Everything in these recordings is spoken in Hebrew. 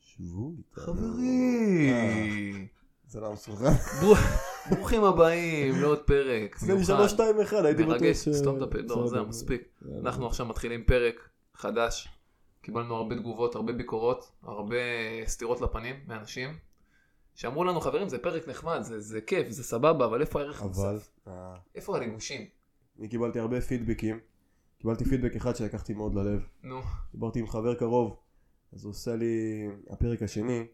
שבו איתנו. חברי, זה לא מסוכן. בור- אה. ברוכים הבאים לעוד פרק. זהו מיוחד. 3, 2, 1, הייתי בטוח מרגש, סתום את הפה, לא, בסדר. אה, זהו, מספיק. אנחנו עכשיו מתחילים פרק חדש. קיבלנו הרבה תגובות, הרבה ביקורות, הרבה סטירות לפנים מאנשים, שאמרו לנו, חברים, זה פרק נחמד, זה זה כיף, זה סבבה, אבל איפה הערך אבל, המוסף? אה, איפה הריגושים? אני קיבלתי הרבה פידבקים. קיבלתי פידבק אחד שלקחתי מאוד ללב. נו, דיברתי עם חבר קרוב, אז הוא עושה לי, הפרק השני,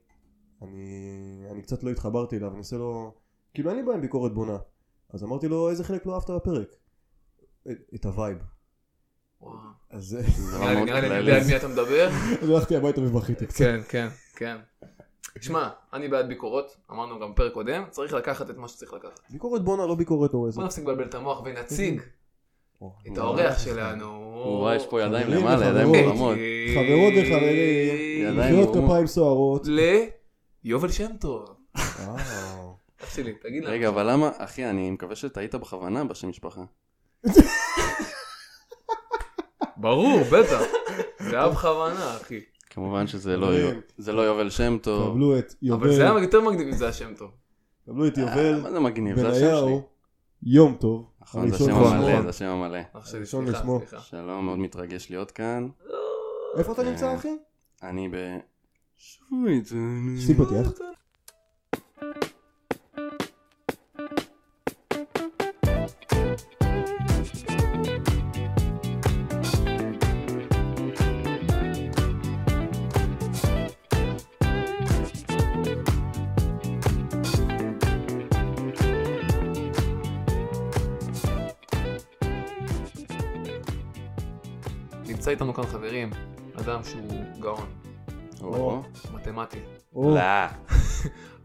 אני, אני קצת לא התחברתי אליו, אני עושה לו, כאילו אין לי בעיה עם ביקורת בונה. אז אמרתי לו, איזה חלק לא אהבת בפרק? את- את הווייב. וואו. אז זה נראה לי- מאוד נראה לי אני יודע על כללי. מי אתה מדבר. הלכתי הביתה ובכיתי קצת. כן, כן, כן. שמע, אני בעד ביקורות, אמרנו גם פרק קודם, צריך לקחת את מה שצריך לקחת. ביקורת בונה, לא ביקורת אורזת. בוא נפסיק לבלבל את המוח ונציג את לא, את האורח שלנו. וואי, יש פה ידיים חברים למעלה, ידיים וחברות. מורמות. חברות וחברים, ידיים מחיאות לא. נורמות. כפיים סוערות. ליובל שם טוב. וואו. אח שלי, תגיד לנו. רגע, אבל למה, אחי, אני מקווה שטעית בכוונה בשם משפחה. ברור, בטח. זה היה בכוונה, אחי. כמובן שזה לא חברים. זה לא יובל שם טוב. קבלו את אבל זה היה יובל, יותר מגניב אם זה היה שם טוב. קבלו את אה, מה יובל זה מגניב, זה השם שלי. בניהו, יום טוב. נכון, זה הראשון השם והאחרון. המלא, זה השם המלא. אח שלי, הראשון סליחה, לשמו. סליחה. שלום, מאוד מתרגש להיות כאן. איפה אתה נמצא אחי? אה. אני ב... שוויץ. שים פתיח. נמצא איתנו כאן חברים, אדם שהוא גאון, או, מתמטי, או, לא.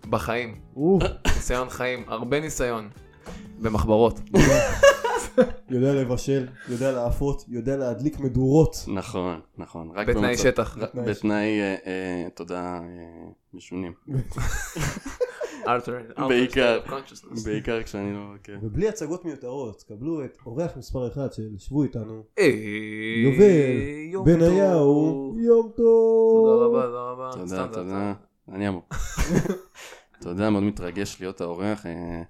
בחיים, או, ניסיון חיים, הרבה ניסיון. במחברות. יודע לבשל, יודע לעפות, יודע להדליק מדורות. נכון, נכון. רק בתנאי במצב- שטח. רק בתנאי, אה, אה, תודה, אה, משונים. Altered- altered בעיקר. state of consciousness. בעיקר כשאני לא... כן. ובלי הצגות מיותרות, קבלו את אורח מספר 1 של שבו איתנו, אה, יובל, יום בניהו, טוב. יום טוב. תודה רבה, תודה רבה. תודה, סתם, תודה. אני אמור. תודה, מאוד מתרגש להיות האורח. אה,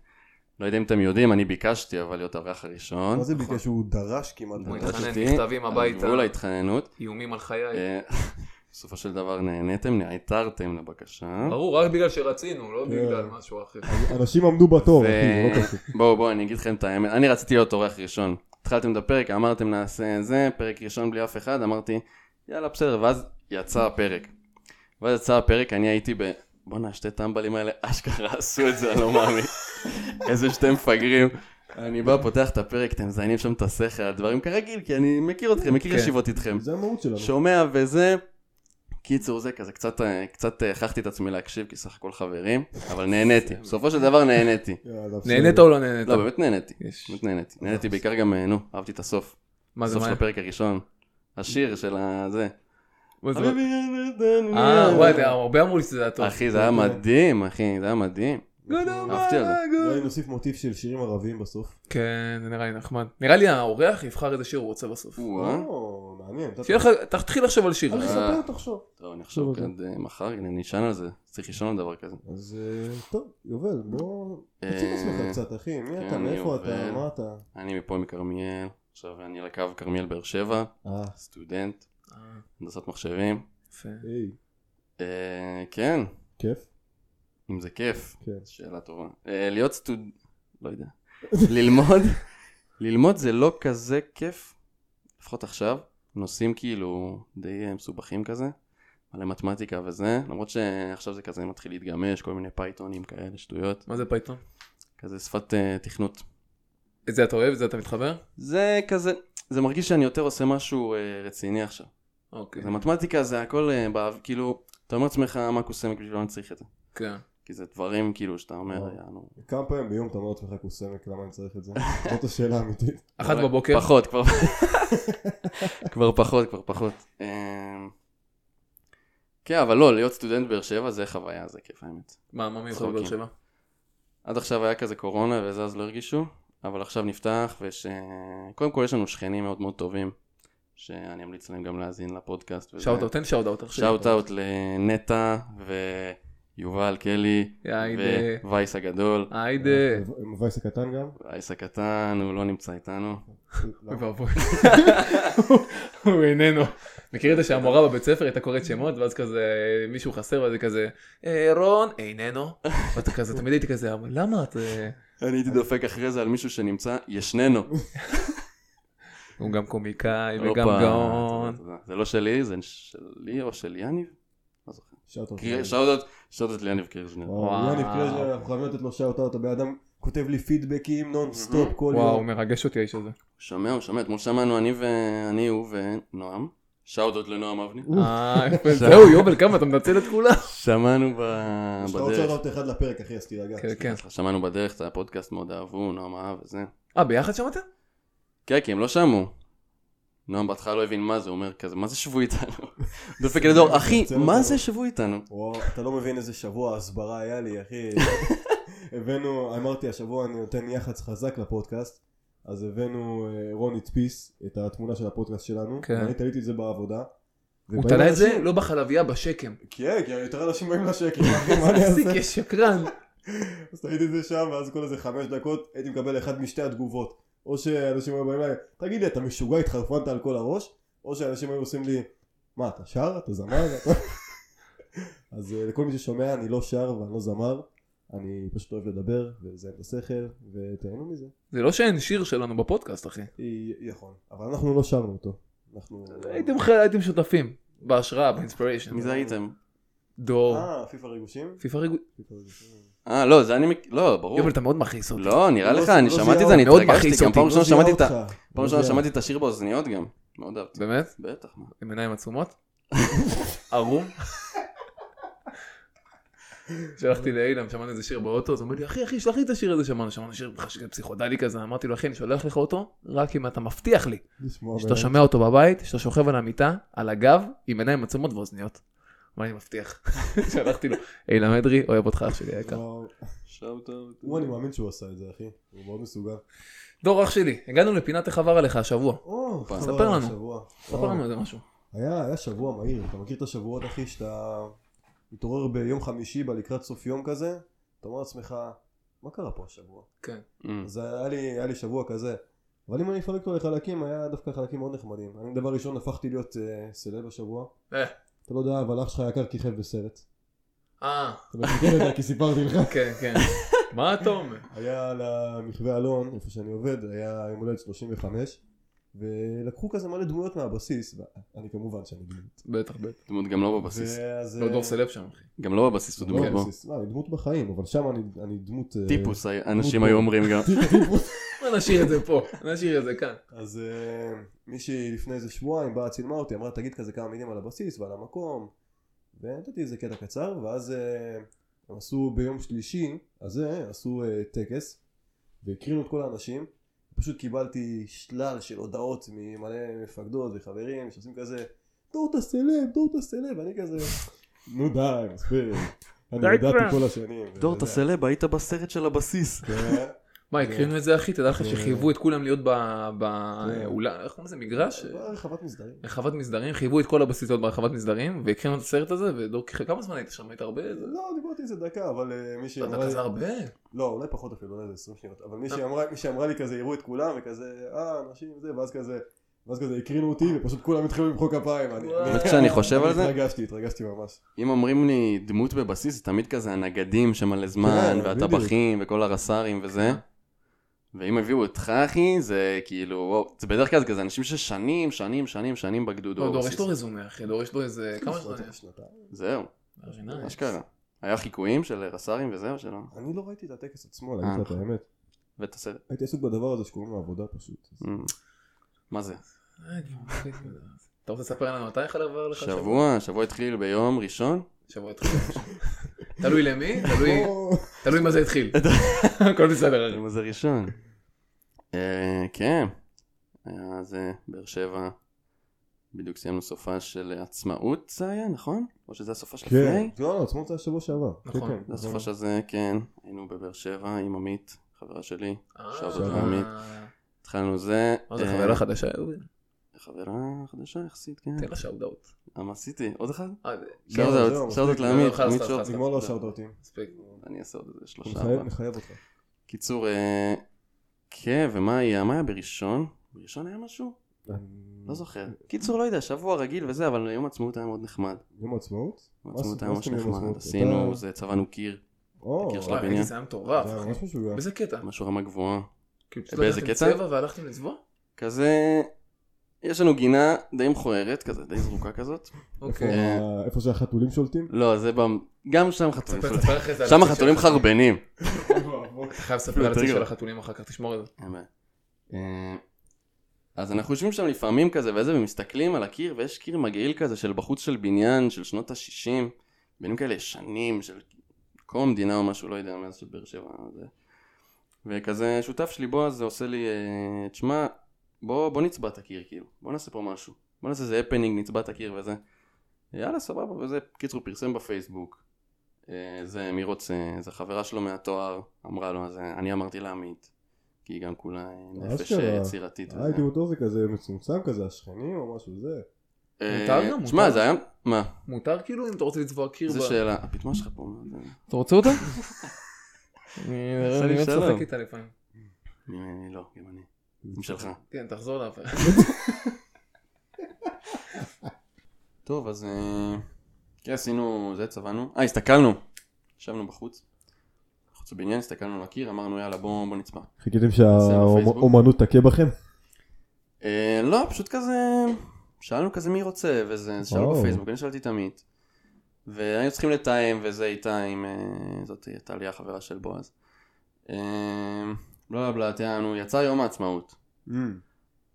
לא יודע אם אתם יודעים, אני ביקשתי אבל להיות האורח הראשון. מה זה ביקש? הוא דרש כמעט. הוא דרש. התחנן, ביקשתי, מכתבים על הביתה. גבול ההתחננות. איומים על חיי. אה, בסופו של דבר נהניתם, נעתרתם לבקשה. ברור, רק בגלל שרצינו, לא כן. בגלל משהו אחר. אנשים עמדו בתור, ו- אחי, זה לא קשור. בואו, בואו, אני אגיד לכם את האמת. אני רציתי להיות אורח ראשון. התחלתם את הפרק, אמרתם נעשה זה, פרק ראשון בלי אף אחד, אמרתי, יאללה, בסדר, ואז יצא הפרק. ואז יצא הפרק, אני הייתי ב... בואנה, השתי טמבלים האלה אשכרה עשו את זה, אני לא מאמין. איזה שתי מפגרים. אני בא, פותח את הפרק, אתם מזיינים שם את השכל, הדברים כרגיל, כי אני מכיר אתכם, מכיר כן. ישיבות איתכם. זה המהות שלנו. שומע וזה. קיצור זה כזה קצת אה, קצת אה, הכרחתי את עצמי להקשיב כי סך הכל חברים אבל נהניתי בסופו של דבר נהניתי יאללה, בסדר. נהנית או לא נהנית? לא באמת נהניתי יש. באמת נהניתי נהניתי בעיקר גם אה, נו אהבתי את הסוף מה זה, הסוף מה? של הפרק הראשון השיר של הזה מה זה? אה, וואי, זה- הרבה אמרו לי שזה היה טוב. אחי זה היה מדהים אחי זה היה מדהים אהבתי על זה. אה, אולי נוסיף מוטיף של שירים ערביים בסוף. כן, זה נראה לי נחמד. נראה לי האורח יבחר איזה שיר הוא רוצה בסוף. וואו. או, מעניין. אתה- שיהיה לך- תתחיל לחשוב על שיר. אל אה. תספר, תחשוב. טוב אני אחשוב טוב, כאן אה, מחר אני נשען על זה צריך לישון על דבר כזה אז אה, טוב, יובל, בוא... אה, תציג עצמך קצת, אחי. מי אתה? כן, מאיפה אתה? יובל. מה אתה? אני מפה מכרמיאל עכשיו אני על הקו כרמיאל באר שבע אה, סטודנט אה, הנדסת מחשבים יפה. היי, אה, כן כיף? אם זה כיף כן. שאלה טובה. אה, להיות סטוד... לא יודע. ללמוד, ללמוד זה לא כזה כיף, לפחות עכשיו. נושאים כאילו די אה, מסובכים כזה, מלא מתמטיקה וזה, למרות שעכשיו זה כזה מתחיל להתגמש, כל מיני פייתונים כאלה, שטויות, מה זה פייתון? כזה שפת אה, תכנות. את זה אתה אוהב? את זה אתה מתחבר? זה כזה, זה מרגיש שאני יותר עושה משהו אה, רציני עכשיו. אוקיי. זה מתמטיקה, זה הכל אה, באו- כאילו, אתה אומר לעצמך מה קוסמק בשביל מה אני צריך את זה. כן. כי זה דברים כאילו שאתה אומר, אה. יענו, כמה פעמים ביום אתה אומר לעצמך קוסמק, למה אני צריך את זה? זאת השאלה האמיתית. אחת רק בבוקר? פחות, כבר כבר פחות, כבר פחות. אמ, כן, אבל לא, להיות סטודנט באר שבע זה חוויה, זה כיף האמת. מה, מה מיוחד צחוקים. בבאר שבע? עד עכשיו היה כזה קורונה וזה אז לא הרגישו, אבל עכשיו נפתח ויש... אה, קודם כל יש לנו שכנים מאוד מאוד טובים, שאני אמליץ להם גם להאזין לפודקאסט. וזה. שאוט אאוט, תן שאוט אאוט. שאוט אאוט לנטע ויובל קלי, יא היידה. ווייס הגדול, היידה. עם וייס הקטן גם? וייס הקטן, הוא לא נמצא איתנו. אוי ואבוי. הוא איננו. מכיר את זה שהמורה בבית ספר הייתה קוראת שמות ואז כזה מישהו חסר ואז היא כזה "אה, רון איננו. ואתה כזה תמיד הייתי כזה "אבל למה את... אה?" אני הייתי דופק אחרי זה על מישהו שנמצא, ישננו. הוא גם קומיקאי וגם הופה, גאון. תודה, תודה. זה לא שלי, זה שלי או של יניב? שאוט-אוט. שאוטות, שאוטות ליניב קירשנר. וואו. וואו, יניב קלז'ר, אנחנו חייבים לתת לו שאוט-אוט, הבן אדם כותב לי פידבקים נונסטופ כל יום. וואו מרגש אותי האיש הזה. שומע, הוא שומע, אתמול שמענו אני ו... אני, הוא ונועם. שאוטות לנועם אבני. אה, יפה. כן, זהו יובל כמה אתה מנצל את כולם. שמענו ב... יש לך עוד בדרך. שאוט-אוט אחד לפרק, אחי, אז תירגע. כן כן. שמענו בדרך, את הפודקאסט מאוד אהבו, נועם אהב וזה. אה ביחד שמעתם? כן, כי הם לא שמעו. נועם בהתחלה לא הבין מה זה, הוא אומר כזה, מה זה שבו איתנו? דופק לדור, אחי, מה זה שבו איתנו? וואו, אתה לא מבין איזה שבוע הסברה היה לי, אחי. הבאנו, אמרתי, השבוע אני נותן יח"צ חזק לפודקאסט, אז הבאנו, אה, רון הדפיס את התמונה של הפודקאסט שלנו, כן. ואני תליתי את זה בעבודה. הוא ובאים תלה את זה אנשים- לא בחלביה בשקם. כן, כי יותר אנשים באים לשקר, אחי, מה אני תפסיק, אעשה? יא שקרן. אז ראיתי את זה שם, ואז כל איזה חמש דקות הייתי מקבל אחד משתי התגובות. או שאנשים היו באים אליי, תגיד לי, אתה משוגע, התחרפנת על כל הראש? או שאנשים היו עושים לי, מה, אתה שר? אתה זמר? אתה-" אז אה, לכל מי ששומע, אני לא שר ואני לא זמר. אני פשוט אוהב לדבר, ולזיין את השכל, ותהנו מזה. זה לא שאין שיר שלנו בפודקאסט אחי. היא- נכון. אבל אנחנו לא שרנו אותו. אנחנו... הייתם ח- הייתם שותפים. בהשראה באינספיריישן. מי זה הייתם? דור. אה, פיפה ריגושים? פיפה ריגול. פיפה ריגושים. אה, לא, זה אני... מק- לא, ברור. יובל אתה מאוד מכעיס אותי. לא, נראה לא לך, זיהה אני אותי. שמעתי את זה, אני מאוד מכעיס התרגשתי, גם אותי, פעם לא ראשונה לא זיהה שמעתי את ה... אותך. לא פעם ראשונה זיהה. שמעתי את השיר באוזניות גם. מאוד אהבתי. באמת? בטח, מה. עם עיניים עצומות? ערום? שלחתי לאילן, שמענו איזה שיר באוטו, אז הוא אומר לי, אחי, אחי, שלח לי את השיר הזה שמענו, שמענו שיר חש- פסיכודלי כזה, אמרתי לו, אחי, אני שולח לך אותו, רק אם אתה מבטיח לי, לשמוע שאתה באמת. שומע אותו בבית, שאתה שוכב על המיטה, על הגב, עם עיניים עצומות ואוזניות. מה אני מבטיח? שלחתי לו, אילן אדרי, אוהב אותך אח שלי היקר. וואו. שאוט אאוט. לא, הוא, אני מאמין שהוא עשה את זה, אחי. הוא מאוד מסוגל. דור אח שלי, הגענו לפינת איך עבר עליך השבוע. או, ספר חבל על לנו. השבוע. ספר וואו. לנו איזה משהו. היה, היה שבוע מהיר, אתה מכיר את השבועות אחי שאתה מתעורר ביום חמישי בלקראת סוף יום כזה, אתה אומר לעצמך, מה קרה פה השבוע? כן. Mm. אז היה לי, היה לי שבוע כזה. אבל אם אני אפרק אותו לחלקים, היה דווקא חלקים מאוד נחמדים. אני דבר ראשון הפכתי להיות uh, סלב השבוע. אה. אתה לא יודע, אבל אח שלך היקר כיכב בסרט. אה, אתה לא מכיר את זה כי סיפרתי לך. כן, כן. מה אתה אומר? היה למחווה אלון, איפה שאני עובד, היה יום הולדת 35, ולקחו כזה מלא דמויות מהבסיס, ואני כמובן שאני דמות. בטח, בטח. דמות גם לא בבסיס. ואז, לא אה, דור סלב שם, אחי. גם לא בבסיס, הוא דמות לא, בו. בסיס- לא, אני דמות בחיים, אבל שם אני, אני דמות... אה, טיפוס, אנשים דמות היו בו. אומרים גם. טיפ- טיפוס. בוא נשאיר את זה פה, נשאיר את זה כאן. אז אה, מישהי לפני איזה שבועיים באה, צילמה אותי, אמרה, תגיד כזה כמה מילים על הבסיס ועל המקום, ונתתי איזה קטע קצר, ואז אה, הם עשו ביום שלישי, אז זה, עשו אה, טקס, והקרינו את כל האנשים, פשוט קיבלתי שלל של הודעות ממלא מפקדות וחברים שעושים כזה, דור אתה סלב, דור אתה סלב, אני כזה, נו די, מספיק, אני די ידעתי כבר. כל השנים. דור, וזה. אתה סלב, היית בסרט של הבסיס. כן. מה, הקרינו את זה, כן. אחי? תדע לך כן. שחייבו את כולם להיות באולם, איך קוראים לזה? מגרש? רחבת מסדרים. רחבת מסדרים, חייבו את כל הבסיס להיות ברחבת מסדרים, והקרינו את הסרט הזה, ודור כיכר, כמה זמן היית שם? היית הרבה? זה- לא, דיברתי איזה דקה, אבל אה, מישהי אתה אמרה לי... כזה הרבה? לא, אולי פחות אפילו, אולי איזה 20 שניות. אבל מישהי אמרה- מישהי אמרה לי כזה, יראו את כולם, וכזה, אה, אנשים זה, ואז כזה... ואז כזה הקרינו אותי, ופשוט כולם התחילו למחוא כפיים. אני- וואו. אני- האמת שאני חושב אני על זה- התרגשתי, התרגשתי ממש. אם אומרים לי דמות בבסיס, זה תמיד כזה הנגדים שמלא זמן, כן, והטבחים, וכל הרס"רים וזה. ואם הביאו אותך, אחי, זה כאילו, וואו, זה בדרך כלל כזה אנשים ששנים, שנים, שנים, שנים בגדוד. או לא, דור, בבסיס. יש לו רזומה, אחי. דור, יש לו איזה... כמה זמן שנתיים, יש? שנתיים. זהו, ארג'ינאי. אשכרה. היה חיקויים של רס"רים וזהו, שלא. אני לא ראיתי את הטקס עצמו, אה, להגיד לך את נכון. האמת. ואת הסרט. הייתי עסוק בדבר הזה שקוראים לו עבודה פשוט. אז- אמ, מה זה? אה, כבר, אחי. אתה רוצה לספר לנו מתי חלב עבר לך? שבוע, שבוע התחיל ביום ראשון. שבוע התחיל. תלוי למי, תלוי- או, תלוי מה זה התחיל. הכל בסדר, אחי. מה זה ראשון? אה, כן. היה זה באר שבע. בדיוק סיימנו סופה של עצמאות זה היה, נכון? או שזה הסופה של כן. לפני? לא, לא, עצמו זה היה שבוע שעבר. כן, אוקיי. נכון. כן, זה הסופה של זה, כן. היינו בבאר שבע עם עמית, חברה שלי. אה, שבוע, עמית. התחלנו זה. מה זה אה, חוויה חדשה? חברה חדשה יחסית, כן. תן לה שאוט אאוט. למה עשיתי? עוד אחד? אה, זה- זהו, שאוט זהו, אאוט, שאוט אאוט מספיק. לעמית, לא, עמית חלאס, שאוט. חלאס, נגמור לו שאוטאוטים. מספיק. אני אעשה עוד איזה שלושה. נחייב- ארבעה. נחייב אותך. קיצור, אה, כן, ומה היה? מה היה בראשון? בראשון היה משהו? לא זוכר. קיצור, לא יודע, שבוע רגיל וזה, אבל יום עצמאות היה מאוד נחמד. יום העצמאות? יום מה עצמאות עשית- היה מה ממש עשיתם ביום נחמד. העצמאות? עשינו, אתה- זה צבענו קיר, או, בקיר של וואי, וואי, הבניין. הייתי, זה היה אה, מטורף. זה היה ממש משוגע. באיזה קטע? משהו רמה גבוהה. כאילו פשוט באיזה לקחתם קטע? צבע והלכתם לצבוע? כזה, יש לנו גינה די מכוערת, כזה, די זרוקה כזאת. איפה אוקיי. ה- איפה שהחתולים שולטים? לא, זה ב... גם שם חתולים תספר חרבנים. תספר אחרי זה. על שם הציר של החתולים החתולים. חרבנים. אתה חייב לספר על הציר תגיד. של החתולים אחר כך, תשמור את זה. אמת. אה, אז אנחנו יושבים שם לפעמים כזה וזה ומסתכלים על הקיר ויש קיר מגעיל כזה של בחוץ של בניין של שנות ה-60 בניינים כאלה ישנים של קום המדינה או משהו לא יודע מאז שבאר שבע זה וכזה שותף שלי בועז עושה לי אה, תשמע בוא בוא נצבע את הקיר כאילו בוא נעשה פה משהו בוא נעשה איזה הפנינג נצבע את הקיר וזה יאללה סבבה וזה קיצור פרסם בפייסבוק אה, זה מירוץ אה, זה חברה שלו מהתואר אמרה לו אז אה, אני אמרתי לעמית כי היא גם כולה אה, נפש אשכרה. אה, יצירתית וזה. הייתי אותו זה כזה מצומצם כזה, השכנים או משהו זה. אה, מותר גם, שמע מותר. זה היה מה מותר כאילו אם אתה רוצה לצבוע קיר? זה ב- שאלה הפטמה שלך פה לא מה זה? אתה רוצה אותה? עשה לי אני באמת שלום. צוחק איתה לפעמים. אני- אני לא גם אני עם שלך כן, תחזור לאפר. טוב, אז אה, כן, עשינו, זה צבענו. אה, הסתכלנו. ישבנו בחוץ. בחוץ בבניין, הסתכלנו על הקיר, אמרנו יאללה בוא, בוא נצבע. חיכיתם בפייסבוק. שהאומנות תכה בכם? אה, לא, פשוט כזה, שאלנו כזה מי רוצה, וזה, אז שאלנו וואו. בפייסבוק, אני שאלתי את עמית. והיינו צריכים לתאם וזה איתה עם, אה, זאת הייתה לי החברה של בועז. אה, בלה בלה בלה, תיאמנו, יצא יום העצמאות. Mm.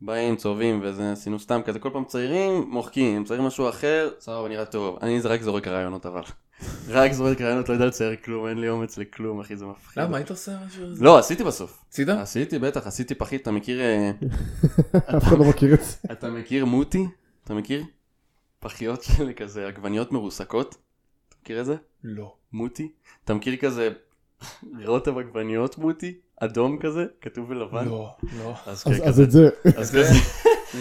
באים, צובעים וזה, עשינו סתם כזה, כל פעם צעירים, מוחקים, צעירים משהו אחר, סבבה, נראה טוב. אני רק זורק רעיונות אבל. רק זורק רעיונות, לא יודע לצייר כלום, אין לי אומץ לכלום, אחי, זה מפחיד. למה, היית עושה משהו? לא, עשיתי בסוף. צידה? עשיתי, בטח, עשיתי פחית, אתה מכיר, אה, אף אחד לא מכיר את זה. אתה מכיר מוטי? אתה מכיר? פחיות של כזה עגבניות מרוסקות? אתה מכיר את זה? לא. מוטי? אתה מכיר כזה רוטב עגבניות מוטי? אדום כזה? כתוב בלבן? לא. לא. אז אז- כן, אז את זה. אז זה- כזה.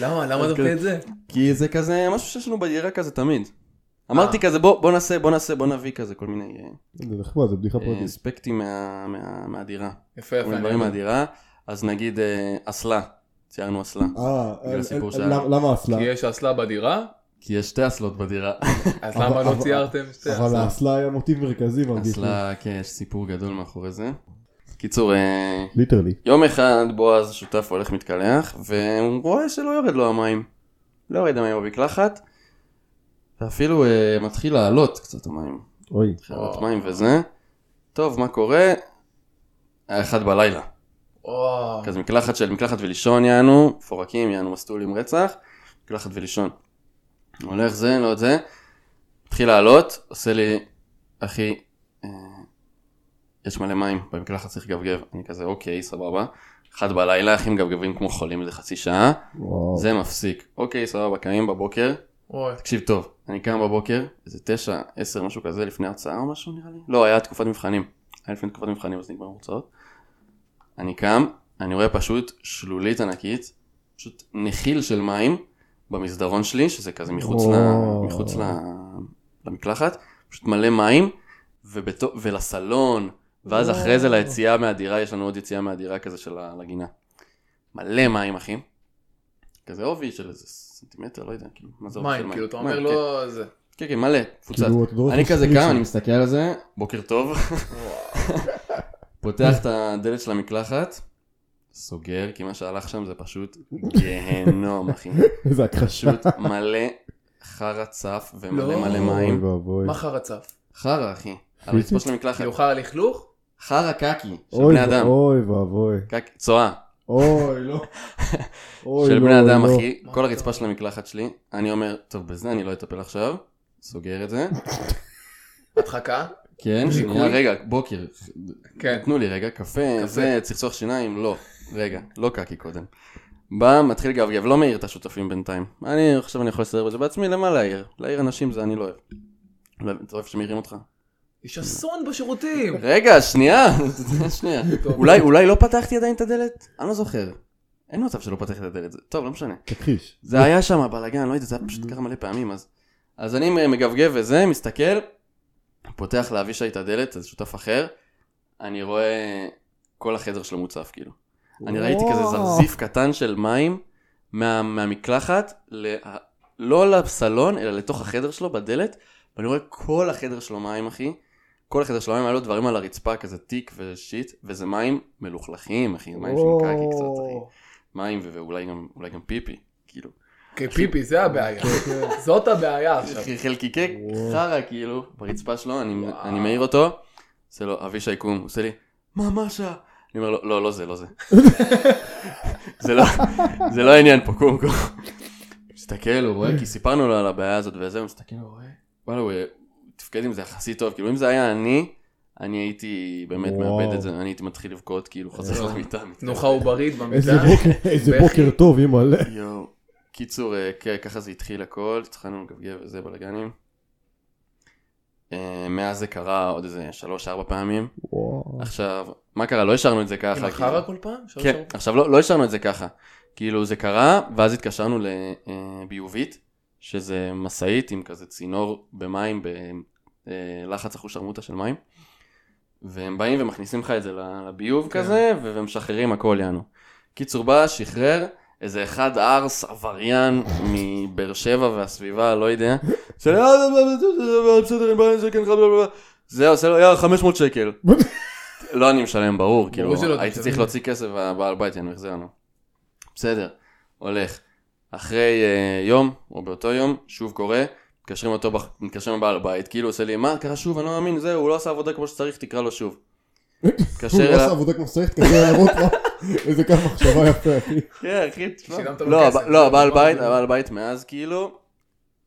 למה, למה אז אתה עושה כזה- את זה? כי זה כזה משהו שיש לנו בדירה כזה תמיד. אמרתי כזה בוא בוא נעשה בוא נעשה בוא נביא כזה כל מיני אה, זה נחמד, זה בדיחה אה, פרטית. אספקטים מה- מה- מהדירה. יפה, כל יפה. מיני אני דברים אוהב. מהדירה. אז נגיד אה, אסלה, ציירנו אסלה. אה, בגלל אל- הסיפור כן, אל- שהיה. למ- למה האסלה? כי יש אסלה בדירה, כי יש שתי אסלות בדירה. אז אבל- למה אבל- לא ציירתם שתי אבל אסלה? האסלה היה מוטיב מרכזי מרגיש לי. אסלה, כן, יש סיפור גדול מאחורי זה. קיצור, אה, ליטרלי. יום אחד בועז שותף הולך מתקלח, והוא רואה שלא יורד לו המים. לא יורד המים במקלחת, ואפילו אה, מתחיל לעלות קצת המים. אוי. חרדת מים וזה. טוב, מה קורה? היה אחד בלילה. וואו. כזה מקלחת של מקלחת ולישון יענו, פורקים יענו מסטול עם רצח, מקלחת ולישון. הולך זה, לא את זה, מתחיל לעלות, עושה לי, אחי, אה, יש מלא מים, במקלחת צריך לגבגב. אני כזה, אוקיי, סבבה. אחת בלילה, אחי מגבגבים כמו חולים איזה חצי שעה, וואו. זה מפסיק. אוקיי, סבבה, קמים בבוקר, אוי. תקשיב טוב, אני קם בבוקר, איזה תשע, עשר, משהו כזה, לפני הרצאה או משהו נראה לי? לא, היה תקופת מבחנים. היה לפני תקופת מבחנים, אז נגמר הרצאות. אני קם, אני רואה פשוט שלולית ענקית, פשוט נחיל של מים במסדרון שלי, שזה כזה מחוץ, ל... וואו. מחוץ ל... למקלחת, פשוט מלא מים, ובתו... ולסלון, ואז וואו. אחרי זה ליציאה מהדירה, יש לנו עוד יציאה מהדירה כזה של ה- לגינה. מלא מים, אחי. כזה עובי של איזה סנטימטר, לא יודע, כאילו, מה זה עובי של מים, כאילו, אתה אומר מים, לא זה. כן, כן, כן, מלא, קבוצת. כאילו, אתה לא אני רוצה כזה שתגיד קם, ש- אני מסתכל על זה, בוקר טוב, פותח את הדלת של המקלחת, סוגר, כי מה שהלך שם זה פשוט גיהנום, אחי. איזה הכחשה. פשוט מלא חרא צף ומלא לא. מלא אוי מים. ואבוי. מה חרא צף? חרא, אחי. על הרצפה של המקלחת. כאילו חרא לכלוך? חרא קקי, של אוי בני אדם. אוי ואבוי. קקי, צואה. אוי, לא. אוי, של לא, בני אדם, לא. אחי. מה כל אתה הרצפה אומר? של המקלחת שלי. אני אומר, טוב, בזה אני לא אטפל עכשיו. סוגר את זה. הדחקה? כן, שנייה, ניקוי? רגע, בוקר. כן. תנו לי רגע, קפה, קפה. זה צחצוח שיניים, לא, רגע, לא קקי קודם. בא, מתחיל לגבגב, לא מעיר את השותפים בינתיים. אני, עכשיו אני יכול לסדר בזה בעצמי, למה להעיר? להעיר אנשים זה אני לא אוהב. לא, אתה אוהב שמעירים אותך? יש אסון בשירותים! רגע, שנייה, שנייה. טוב. אולי, אולי לא פתחתי עדיין את הדלת? אני לא זוכר. אין מצב שלא פתח את הדלת, זה- טוב, לא משנה. תכחיש. זה היה שם בלאגן, לא יודע, זה היה פשוט ככה מלא פעמים, אז... אז אני מגבגב וזה, מסתכל, פותח לאבישי את הדלת, זה שותף אחר, אני רואה כל החדר שלו מוצף, כאילו. אני ראיתי כזה זרזיף קטן של מים מה, מהמקלחת, לה, לא לסלון, אלא לתוך החדר שלו, בדלת, ואני רואה כל החדר שלו מים, אחי. כל החדר שלו מים, היה לו דברים על הרצפה, כזה תיק ושיט, וזה מים מלוכלכים, אחי, מים שנקעתי קצת, אחי. מים ו- ואולי גם, אולי גם פיפי, כאילו. כפיפי, זה הבעיה. כן, זאת הבעיה עכשיו. חלקיקי וואו. חרא כאילו ברצפה שלו, אני, וואו. אני מעיר אותו, עושה לו אבישי קום, הוא עושה לי, מה משה? אני אומר לו, לא, לא זה, לא זה. זה לא, זה לא העניין פה, קום קום. הוא מסתכל, הוא רואה, כי סיפרנו לו על הבעיה הזאת וזה, הוא מסתכל, הוא רואה, וואלה, הוא אה, הוא תפקד עם זה יחסית טוב, כאילו אם זה היה אני, אני הייתי באמת וואו. מאבד את זה, אני הייתי מתחיל לבכות, כאילו חוזר אה. למיטה. תנוחה עוברית איזה במיטה. בוקר- איזה בכי. בוקר טוב, אימא. יואו. קיצור, אה, כן, ככה זה התחיל הכל, התחלנו לגבגב וזה בלאגנים. אה, מאז זה קרה עוד איזה שלוש ארבע פעמים. וואו. עכשיו, מה קרה? לא השארנו את זה עם ככה. כאילו. החרא כל פעם? שלוש כן, ארבע? עכשיו לא לא השארנו את זה ככה. כאילו זה קרה, ואז התקשרנו לביובית, שזה משאית עם כזה צינור במים, בלחץ אחוז שרמוטה של מים. והם באים ומכניסים לך את זה ל- לביוב כן. כזה, ו- ומשחררים הכל יענו. קיצור בא, שחרר, איזה אחד ארס עבריין מבאר שבע והסביבה, לא יודע. של "אה, אה, אה, אה, בסדר, אין בעיה, אין שקל, בלה, בלה, בלה." זה עושה לו, יאללה, 500 שקל. לא אני משלם, ברור, כאילו, שלא, אתה הייתי משלם. צריך להוציא כסף, והבעל בית יענו, החזר לנו. בסדר, הולך. אחרי אה, יום, או באותו יום, שוב קורה, מתקשרים אותו, בח- מתקשרים לבעל הבית, כאילו עושה לי, מה קרה שוב, אני לא מאמין, זהו, הוא לא עשה עבודה כמו שצריך, תקרא לו שוב. הוא מתקשר לא עשה אליו, עבודה כמו שצריך, תקשר להראות לך. איזה כמה מחשבה יפה, אחי. כן, אחי, תשמע. שילמת לו לא, כסף. הב- לא, הבעל זה בית, דבר. הבעל בית מאז, כאילו,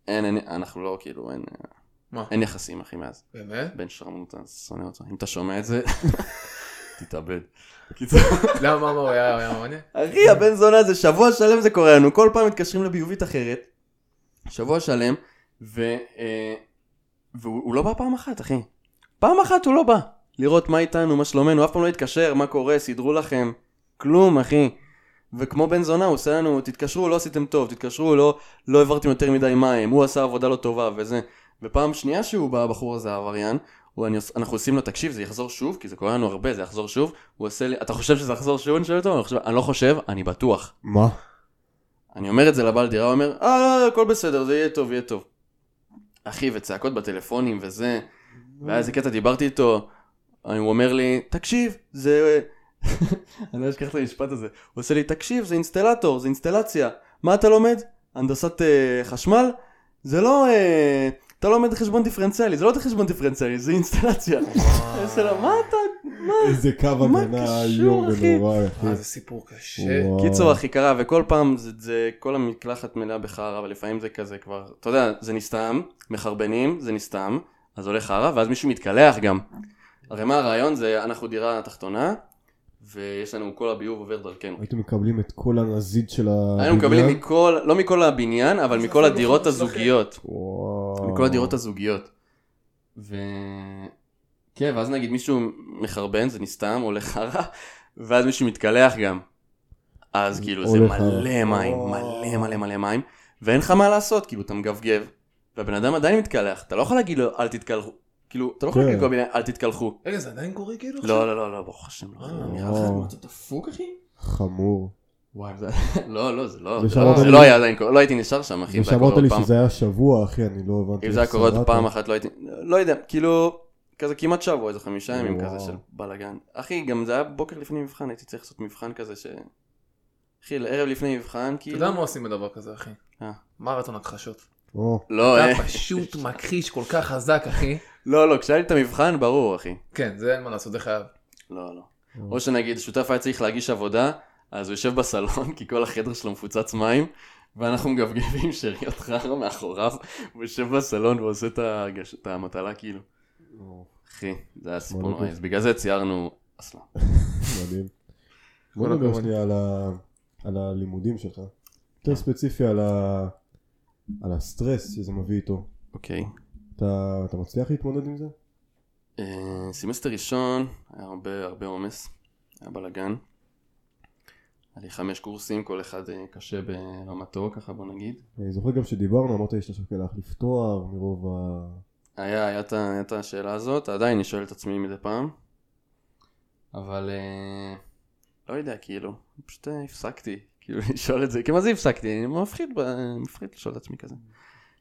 אין, אין, אנחנו לא, כאילו, אין, מה? אין יחסים, אחי, מאז. באמת? בן שרמוטה, שונא אותו. אם אתה שומע את זה, תתאבד. בקיצור, למה, מה, מה, הוא היה הוא היה מעניין? אחי, הבן זונה הזה, שבוע שלם זה קורה לנו, כל פעם מתקשרים לביובית אחרת, שבוע שלם, ו... אה, והוא הוא לא בא פעם אחת, אחי. פעם אחת הוא לא בא. לראות מה איתנו, מה שלומנו, אף פעם לא התקשר, מה קורה, סידרו לכם. כלום, אחי. וכמו בן זונה, הוא עושה לנו, תתקשרו, לא עשיתם טוב, תתקשרו, לא, לא העברתם יותר מדי מים, הוא עשה עבודה לא טובה וזה. ופעם שנייה שהוא בא, הבחור הזה, העבריין, הוא, אני, עוש- אנחנו עושים לו, תקשיב, זה יחזור שוב, כי זה קורה לנו הרבה, זה יחזור שוב. הוא עושה לי, אתה חושב שזה יחזור שוב? אני שואל אותו, אני, חושב, אני לא חושב, אני בטוח. מה? אני אומר את זה לבעל דירה, הוא אומר, אה, לא, לא, הכל בסדר, זה יהיה טוב, יהיה טוב. אחי, וצעקות בטלפונים וזה, והיה איזה קטע, דיברתי איתו, הוא אומר לי, תקשיב, זה... אני לא אשכח את המשפט הזה. הוא עושה לי, תקשיב, זה אינסטלטור, זה אינסטלציה. מה אתה לומד? הנדסת אה, חשמל? זה לא... אה, אתה לומד חשבון דיפרנציאלי, זה לא חשבון דיפרנציאלי, זה אינסטלציה. אני עושה לו, מה אתה... איזה קו מה הגנה קשור, איום אחי? ונורא, אחי. אה, זה סיפור קשה. וואו. קיצור אחי קרה וכל פעם זה, זה כל המקלחת מלאה בחרא ולפעמים זה כזה כבר אתה יודע זה נסתם מחרבנים זה נסתם אז עולה חרא ואז מישהו מתקלח גם. הרי מה הרעיון זה אנחנו דירה תחתונה ויש לנו כל הביוב עובר דרכנו. הייתם מקבלים את כל הנזיד של ה... היינו מקבלים מכל לא מכל הבניין אבל זה מכל אפילו הדירות לא חלק. הזוגיות. וואו. מכל הדירות הזוגיות. ו... כן, ואז נגיד מישהו מחרבן, זה נסתם, עולה חרא, ואז מישהו מתקלח גם. אז כאילו זה עולה חרא. מלא מים, מלא מלא מלא מים, ואין לך מה לעשות, כאילו אתה מגבגב, והבן אדם עדיין מתקלח, אתה לא יכול להגיד לו אל תתקלחו, כאילו, אתה לא יכול כן. להגיד לכל הבניין אל תתקלחו. רגע, זה עדיין קורה כאילו? עכשיו? לא, לא, לא, לא, ברוך השם, לא, אה, נראה לך וואו. אתה דפוק אחי? כאילו- חמור. וואי, זה- לא, לא, זה לא, זה זה שאמרת לא- זה לי- לא היה עדיין קורה, לא הייתי נשאר שם אחי, זה זה היה קורה שאמרת עוד לי פעם. שזה היה שבוע, אחי, אני לא הבנתי. אם זה היה איך קורה עוד שרדת. פעם אחת לא הייתי, לא יודע, כאילו, כזה כמעט שבוע, איזה חמישה ימים וואו. כזה של בלאגן. אחי, גם זה היה בוקר לפני מבחן, הייתי צריך לעשות מבחן כזה ש... אחי, לערב לפני מבחן, אתה כאילו... יודע מה עושים בדבר כזה, אחי? אה. מרתון הכחשות. או, לא, אה, אתה פשוט מכחיש כל כך חזק, אחי. לא, לא, כשהיה לי את המבחן, ברור, אחי. כן, זה אין מה לעשות, זה חייב. לא, לא. או. או שנגיד, שותף היה צריך להגיש עבודה, אז הוא יושב בסלון, כי כל החדר שלו מפוצץ מים, ואנחנו מגבגבים שאריות חרא מאחוריו, הוא יושב בסלון ועושה את ההגש- את המטלה, כאילו. אחי, זה היה סיפור נוראי, אז בגלל זה ציירנו אסלה. מדהים. בוא כל נדבר הכבוד. כן. שנייה על ה- על הלימודים שלך. יותר ספציפי על ה- על הסטרס שזה מביא איתו. אוקיי. אתה אתה מצליח להתמודד עם זה? אה, סמסטר ראשון, היה הרבה הרבה עומס, היה בלאגן. היה לי חמש קורסים, כל אחד אה, קשה ברמתו, ככה בוא נגיד. אני זוכר גם שדיברנו, אמרת לי שאתה שוקל להחליף תואר מרוב ה... היה, היה את ה- היה את השאלה הזאת, עדיין אני שואל את עצמי מדי פעם. אבל אה, לא יודע, כאילו, פשוט אה, הפסקתי, כאילו, לשאול את זה, כי מה זה הפסקתי? אני מפחיד, ב- מפחיד לשאול את עצמי כזה.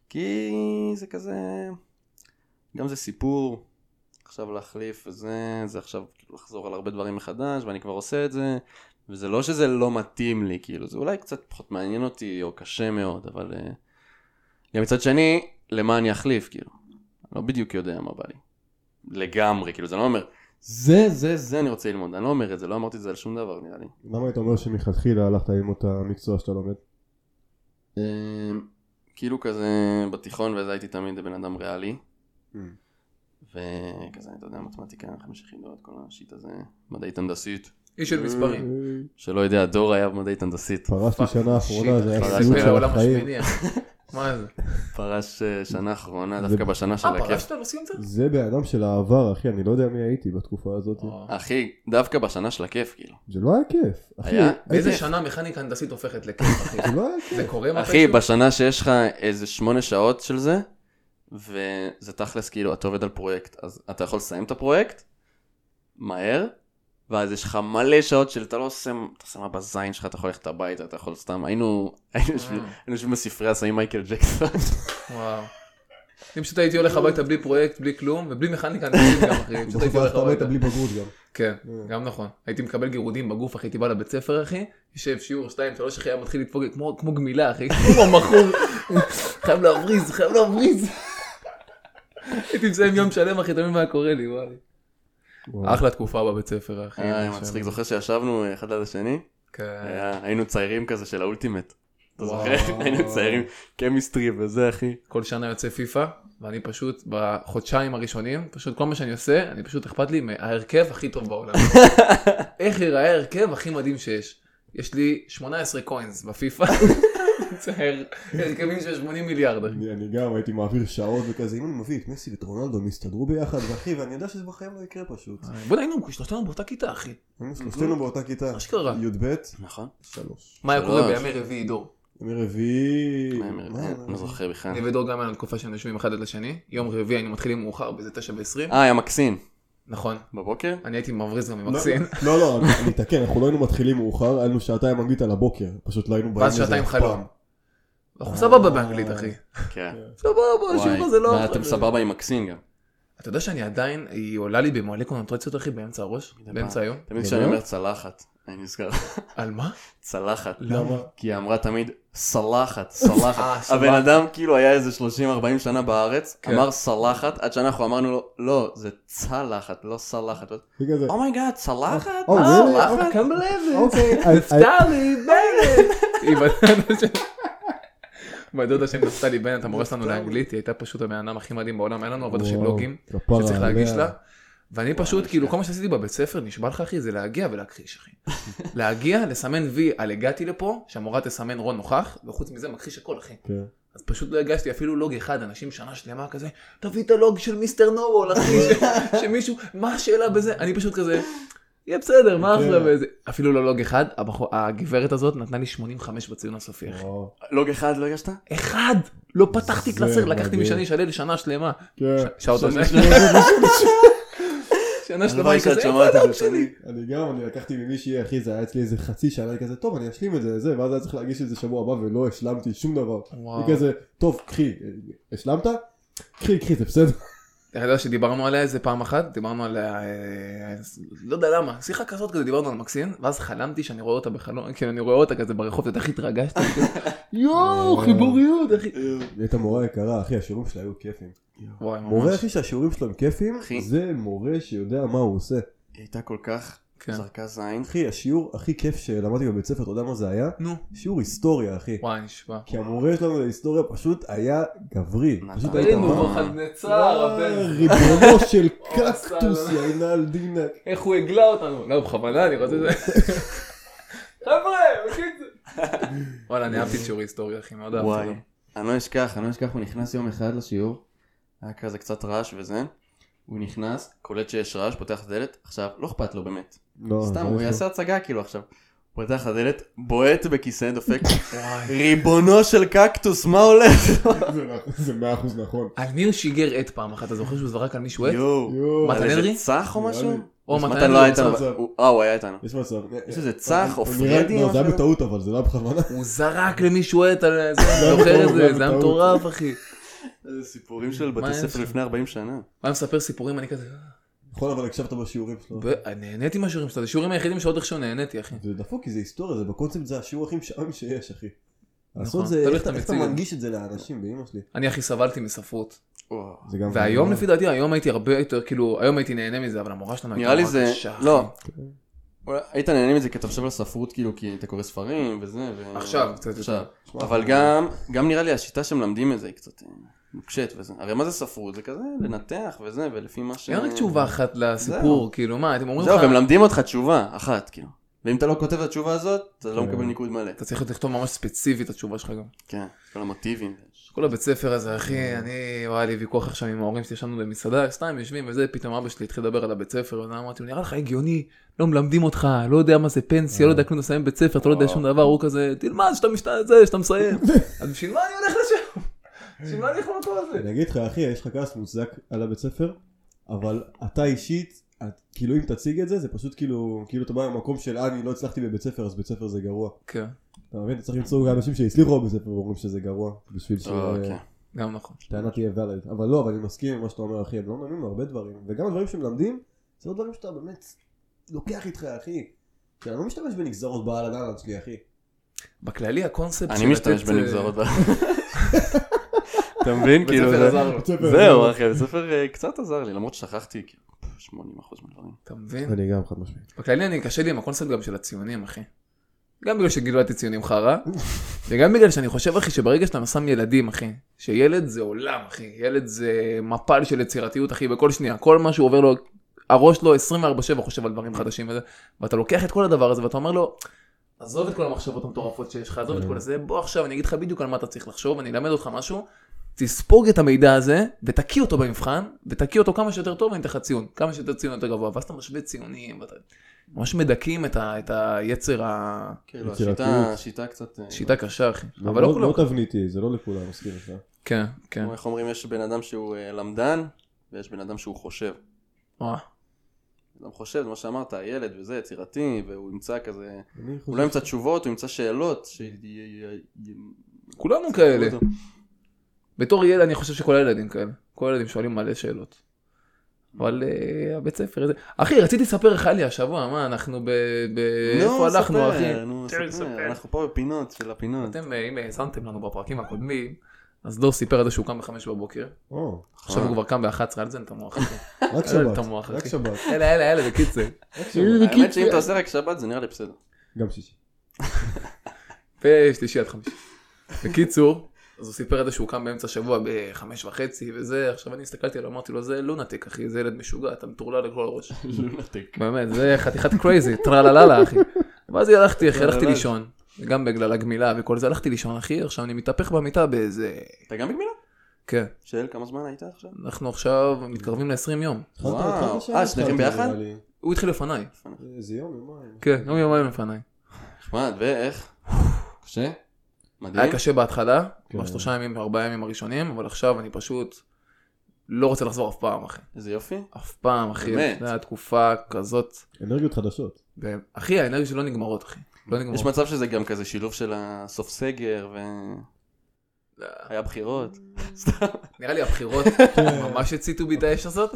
כי זה כזה, גם זה סיפור, עכשיו להחליף וזה, זה עכשיו כאילו לחזור על הרבה דברים מחדש, ואני כבר עושה את זה, וזה לא שזה לא מתאים לי, כאילו, זה אולי קצת פחות מעניין אותי, או קשה מאוד, אבל... אה, גם מצד שני, למה אני אחליף, כאילו? לא בדיוק יודע מה בא לי. לגמרי, כאילו זה לא אומר, זה, זה, זה אני רוצה ללמוד, אני לא אומר את זה, לא אמרתי את זה על שום דבר נראה לי. למה היית אומר שמלכתחילה הלכת ללמוד את המקצוע שאתה לומד? אמ, כאילו כזה בתיכון וזה הייתי תמיד בן אדם ריאלי. Mm. אה, וכזה, אתה יודע, מתמטיקה, חמש יחידות, כל השיט הזה, מדעית הנדסית. איש של מספרים. שלא יודע, דור היה במדעית הנדסית. פרשתי שנה האחרונה, זה היה אחי, סיוט זה של החיים. אה. מה זה? פרש אה, שנה אחרונה, זה- דווקא בשנה של אה, הכיף. פרשת לשים את זה? זה בן אדם של העבר, אחי, אני לא יודע מי הייתי בתקופה הזאת. אה. אחי, דווקא בשנה של הכיף, כאילו. זה לא היה כיף. אחי, היה? באיזה כיף. שנה מכניקה הנדסית הופכת לכיף, אחי? זה לא היה זה כיף. קורה אחי, מתישהו? בשנה שיש לך איזה שמונה שעות של זה, וזה תכלס כאילו, אתה עובד על פרויקט, אז אתה יכול לסיים את הפרויקט, מהר, ואז יש לך מלא שעות של, אתה לא עושה, אתה עושה מה בזין שלך, אתה יכול ללכת הביתה, אתה יכול סתם, היינו, היינו יושבים- אה. היינו יושבים בספרי הסמים מייקל ג'קסון. וואו. אני פשוט הייתי הולך הביתה בלי פרויקט, בלי כלום, ובלי מכניקה הנדסית גם, אחי. פשוט בסוף הייתי הולך הלכת הביתה הביתה. בלי בגרות גם. כן, גם נכון. הייתי מקבל גירודים בגוף, אחי, הייתי בא לבית ספר, אחי, יושב שיעור 2, 3, אחי, היה מתחיל לדפוק לי כמו כמו גמילה, אחי, כמו מכור. חייב להבריז, חייב להבריז. הייתי מסיים יום שלם, אחי, תמיד מה היה קורה לי, וואי. וואו. אחלה תקופה בבית ספר, אחי. אה, משהו. מצחיק, זוכר אה, שישבנו אחד על השני? כן. היה- היינו צעירים כזה של האולטימט. אתה וואו. זוכר? היינו צעירים, קמיסטרי וזה, אחי. כל שנה יוצא פיפא, ואני פשוט בחודשיים הראשונים, פשוט כל מה שאני עושה, אני פשוט אכפת לי מההרכב הכי טוב בעולם. איך ייראה ההרכב הכי מדהים שיש. יש לי 18 קוינס בפיפא. זה הר- הרכבים של 80 מיליארד. אחי. אני אני גם הייתי מעביר שעות וכזה, אז אם אני מביא את מסי ואת רונלדו, הם יסתדרו ביחד, ואחי, ואני יודע שזה בחיים לא יקרה פשוט. בוא'נה, היינו שלושתנו באותה כיתה, אחי. היינו שלושתנו באותה כיתה, אשכרה. י"ב, נכון. שלוש. מה היה קורה שלוש. בימי רביעי, דור? ימי רביעי, אני אה, מה, לא זוכר בכלל. אני ודור גם היינו תקופה שהיינו יושבים אחד עד לשני. יום רביעי היינו מתחילים מאוחר, באיזה תשע ועשרים. אה, היה מקסין. נכון. בבוקר? אני הייתי מבריז גם עם לא, מקסין. לא, לא, אני- אני אתקן, אנחנו לא היינו מתחילים מאוחר, היינו שעתיים אנגלית על הבוקר, פשוט לא היינו באים ואז לזה שעתיים אף חלום. פעם. אנחנו סבבה באנגלית, אחי. כן. סבבה, השיעור הזה לא... וואי, ואתם סבבה עם מקסין גם. אתה יודע שאני עדיין, היא עולה לי במלא קונוטרציות אחי באמצע הראש, מדי באמצע היום. תמיד באמת? כשאני אומר צלחת, אני נזכר. על מה? צלחת. למה? כי היא אמרה תמיד סלחת, סלחת. אה, הבן סלחת. אדם כאילו היה איזה 30-40 שנה בארץ, כן. אמר סלחת, עד שאנחנו אמרנו לו, לא, זה צלחת, לא סלחת. בגלל זה, אומייגאד, צלחת? Oh, אה, really? צלחת? Can't believe אוקיי, it. נפתלי בנט. בדודה של נפתלי בנט, המורה שלנו לאנגלית, היא הייתה פשוט הבן אדם הכי מדהים בעולם, היה לנו עבודה של וואו, בלוגים כפרה שצריך להגיש עליה. לה. ואני פשוט, כאילו, כל מה שעשיתי בבית ספר, נשבע לך אחי, זה להגיע ולהכחיש אחי. להגיע, לסמן וי על הגעתי לפה, שהמורה תסמן רון נוכח, וחוץ מזה מכחיש הכל אחי. כן. אז פשוט לא הגשתי אפילו לוג אחד, אנשים שנה שלמה כזה, תביא את הלוג של מיסטר נורול, אחי, ש- שמישהו, מה השאלה בזה? אני פשוט כזה, יהיה בסדר, מה כן. אחלה וזה? אפילו לא לוג אחד, הבחור- הגברת הזאת נתנה לי 85 בציון הסופי, אחי. וואו, לוג אחד לא אה. הגשת? אחד! לא פתחתי זה קלסר, לקחתי מדהים. משני שלי לשנה שלמה. כן. ש- שעות שנה השנה. שנה שלמה הלוואי היא שאת כזה, שומעת את זה שלי. אני גם, אני לקחתי ממישהי, אחי, זה היה אצלי איזה חצי שנה, היא כזה, טוב, אני אשלים את זה, זה, ואז היה צריך להגיש את זה שבוע הבא, ולא השלמתי שום דבר. וואו. היא כזה, טוב, קחי, השלמת? קחי, קחי, זה בסדר. אתה יודע שדיברנו עליה איזה פעם אחת, דיברנו עליה, אה, לא יודע למה, שיחה כזאת כזה, דיברנו על מקסין, ואז חלמתי שאני רואה אותה בחלום, כאילו אני רואה אותה כזה ברחוב, אתה יודע, איך התרגשתי, אני כזה, אה. יואו, חיבוריות, אחי. היא הייתה מורה יקרה, אחי, השיעורים שלה היו כיפים. וואי, ממש. מורה אחי שהשיעורים שלו הם כיפים, אחי. זה מורה שיודע מה הוא עושה. היא הייתה כל כך כן. זרקה זין. אחי, השיעור הכי כיף שלמדתי בבית ספר, אתה יודע מה זה היה? נו, שיעור היסטוריה, אחי. וואי, נשבע. כי המורה שלנו להיסטוריה פשוט היה גברי. נתן. פשוט היית תראינו, מה? אומר, רוח נצר, וואי, הבן, ריבונו של קקטוס, עשה יא אינלדינה. איך הוא הגלה אותנו. לא, בכוונה, אני רוצה את זה. חבר'ה, בקיצור. וואלה, אני אהבתי את שיעור היסטוריה, אחי, מאוד אהבתי. וואי. אותו. אני לא אשכח, אני לא אשכח, הוא נכנס יום אחד לשיעור, היה כזה קצת רעש וזה, הוא נכנס, קולט שיש רעש, פותח את הדלת, עכשיו, לא אכפת לו באמת, לא, סתם, זה הוא יש לו. יעשה הצגה כאילו עכשיו. הוא פותח הדלת, בועט בכיסא, דופק, ריבונו של קקטוס, מה הולך? זה נ- זה מאה אחוז נכון. על מי הוא שיגר עט פעם אחת? אתה זוכר שהוא זרק על מישהו עט? יואו. יואו. מה, על מתן איזה אדרי? צח או נראה משהו? לי. או מתן מתן לא היה אדרי, איתנו, צח, אבל- הוא- אה הוא היה איתנו. יש מצב. יש איזה צח או אה, הוא נראה- פרדי? לא, או זה היה משהו? בטעות אבל, זה לא היה בכוונה. הוא זרק למישהו עט על זה, היה זוכר את בטעות, זה זה, היה זה היה בטעות. מטורף אחי. איזה סיפורים של מה בתי יש ספר לך? לפני 40 שנה. הוא היה מספר סיפורים, אני כזה... נכון אבל הקשבת בשיעורים שלו. ו- נהניתי מהשיעורים שלו, זה השיעורים היחידים שעוד איכשהו נהניתי אחי. זה דפוק כי זה היסטוריה, זה בקונספט זה השיעור הכי משעמם שיש אחי. נכון. לעשות זה, תלוי איך איך אתה איך אתה מציג את זה. מנגיש את זה לאנשים באמא שלי. אני הכי סבלתי מספרות. וואו. זה גם- והיום לפי דעתי, היום הייתי הרבה יותר, כאילו, היום הייתי נהנה מזה, אבל המורה שלנו הייתה נראה לי נורא זה... קשה. אחי. לא. אולי- היית נהנה מזה כי אתה חושב על ספרות כאילו כי אתה קורא ספרים וזה. ו- עכשיו, קצת יותר. עכשיו. אבל גם, גם נראה לי השיטה שמלמדים את זה היא קצת אה, מוקשת וזה. הרי מה זה ספרות? זה כזה לנתח וזה ולפי מה ש... אין רק תשובה אחת לסיפור, זהו. כאילו, מה, אתם אומרים זהו, והם לך, מלמדים אותך תשובה אחת כאילו. ואם אתה לא כותב את התשובה הזאת, אתה לא כן. מקבל ניקוד מלא. אתה צריך לכתוב ממש ספציפית את התשובה שלך גם. כן, כל המוטיבים. כל הבית ספר הזה, אחי, אני, וואי, לי ויכוח עכשיו עם ההורים שלי, ישבנו במסעדה, סתם יושבים וזה, פתאום אבא שלי התחיל לדבר על הבית ספר, ואני אמרתי לו, נראה לך הגיוני, לא מלמדים אותך, לא יודע מה זה פנסיה, לא יודע כלום, אתה מסיים בית ספר, אתה לא יודע שום דבר, הוא כזה, תלמד שאתה משתנה את זה, שאתה מסיים. אז בשביל מה אני הולך לשם? בשביל מה אני הולך למקום הזה? אני אגיד לך אחי, יש לך כעס מוצדק על הבית ספר, אבל אתה אישית, את- כאילו אם תציג את זה, זה פשוט כאילו, כאילו אתה בא ממקום של "אה, אני לא הצלחתי בבית ספר אז בית ספר זה גרוע. כן, אתה מבין? אתה צריך למצוא גם אנשים שהצליחו בבית ספר ואומרים שזה גרוע, בשביל אוקיי. שטענה גם נכון. תהיה valid. אבל לא, אבל אני מסכים עם מה שאתה אומר אחי, הם לא מלמדים הרבה דברים, וגם הדברים שמלמדים, זה לא דברים שאתה באמת לוקח איתך אחי. כי אני לא משתמש בנגזרות בעל הדעת שלי אחי. בכללי הקונספט אני משתמש לתת, אה, בנגזרות. אתה מבין? בית כאילו, ספר זה- עזר לו. זהו אחי, בית ספר אה, קצת עזר לי, למרות ששכחתי כאילו, פff, 80% מהדברים. אתה מבין? כן. אני גם חד משמעית. בכללי אני קשה לי עם הקונספט גם של הציונים, אחי. גם בגלל שגילדתי ציונים חרא, וגם בגלל שאני חושב, אחי, שברגע שאתה שם ילדים, אחי, שילד זה עולם, אחי, ילד זה מפל של יצירתיות, אחי, בכל שנייה, כל מה שהוא עובר לו, הראש לו 24/7 חושב על דברים חדשים וזה, ואתה לוקח את כל הדבר הזה ואתה אומר לו, עזוב את כל המחשבות המטורפות שיש לך, עזוב את כל זה, בוא עכשיו אני אגיד לך בדיוק על מה אתה צריך לחשוב, אני אלמד אותך משהו, תספוג את המידע הזה ותקיא אותו במבחן, ותקיא אותו כמה שיותר טוב ואני אתן לך ציון, כמה שיותר ציון יותר גבוה, ואז אתה משווה ציונים, ואתה ממש מדכאים את, ה, את היצר, ה- כאילו, יצירתיות. השיטה- השיטה קצת... אה, שיטה קשה אחי, אבל לא כולם, לא תבניתי, זה לא לכולם, מסכים איתך. כן, כן, כמו איך אומרים, יש בן אדם שהוא אה, למדן, ויש בן אדם שהוא חושב. וואו. בן אדם חושב, זה מה שאמרת, הילד וזה, יצירתי, והוא ימצא כזה... אני חושב אוקיי. הוא לא ימצא תשובות, הוא ימצא שאלות, ש... י- י- י- כולנו כאלה, אותו. בתור ילד אני חושב שכל הילדים כאלה, כל הילדים שואלים מלא שאלות. אבל אה, הבית ספר הזה, אחי רציתי לספר לך לי השבוע, מה אנחנו ב... ב... איפה נו, הלכנו ספר, אחי? נו, תן לי ספר, לספר. אנחנו פה בפינות של הפינות. אתם, אה, אם האזנתם לנו בפרקים הקודמים, אז דור סיפר על זה שהוא קם בחמש בבוקר, או, עכשיו הוא כבר קם ב-11, אל תזיין את המוח. אחי. רק אין לו את שבת, המוח, רק אחי. שבת. אלה, אלה, אלה, בקיצר. כאילו, האמת שאם אתה עושה רק שבת זה נראה לי בסדר. גם שישי. ושלישי עד חמישי. בקיצור, אז הוא סיפר את זה שהוא קם באמצע השבוע בחמש וחצי וזה, עכשיו אני הסתכלתי עליו, אמרתי לו זה לונטיק אחי, זה ילד משוגע, אתה מטורלל לכל הראש. לונטיק. באמת, זה חתיכת קרייזי, טרללה אחי. ואז הלכתי אחי, הלכתי טרללה. לישון, גם בגלל הגמילה וכל זה, הלכתי לישון אחי, עכשיו אני מתהפך במיטה באיזה... אתה גם בגמילה? כן, של כמה זמן היית עכשיו? אנחנו עכשיו מתקרבים ל-20 יום. התחלת- וואו. התחלת לשבת, אה, שניכם התחלתי, ביחד? נראה לי. הוא התחיל לפניי, איזה יום, יומיים. כן, יום יומיים לפניי. נחמד, ואיך? קשה? מדהים? היה קשה בהתחלה, כן. בשלושה ימים, ארבעה ימים הראשונים, אבל עכשיו אני פשוט לא רוצה לחזור אף פעם אחי. איזה יופי. אף פעם, אחי. באמת? זה היה תקופה כזאת. אנרגיות חדשות. ו- אחי, האנרגיות שלא נגמרות, אחי. לא נגמרות. יש מצב שזה גם כזה שילוב של הסוף סגר ו... היה בחירות. נראה לי הבחירות ממש הציתו בי את האש הזאת.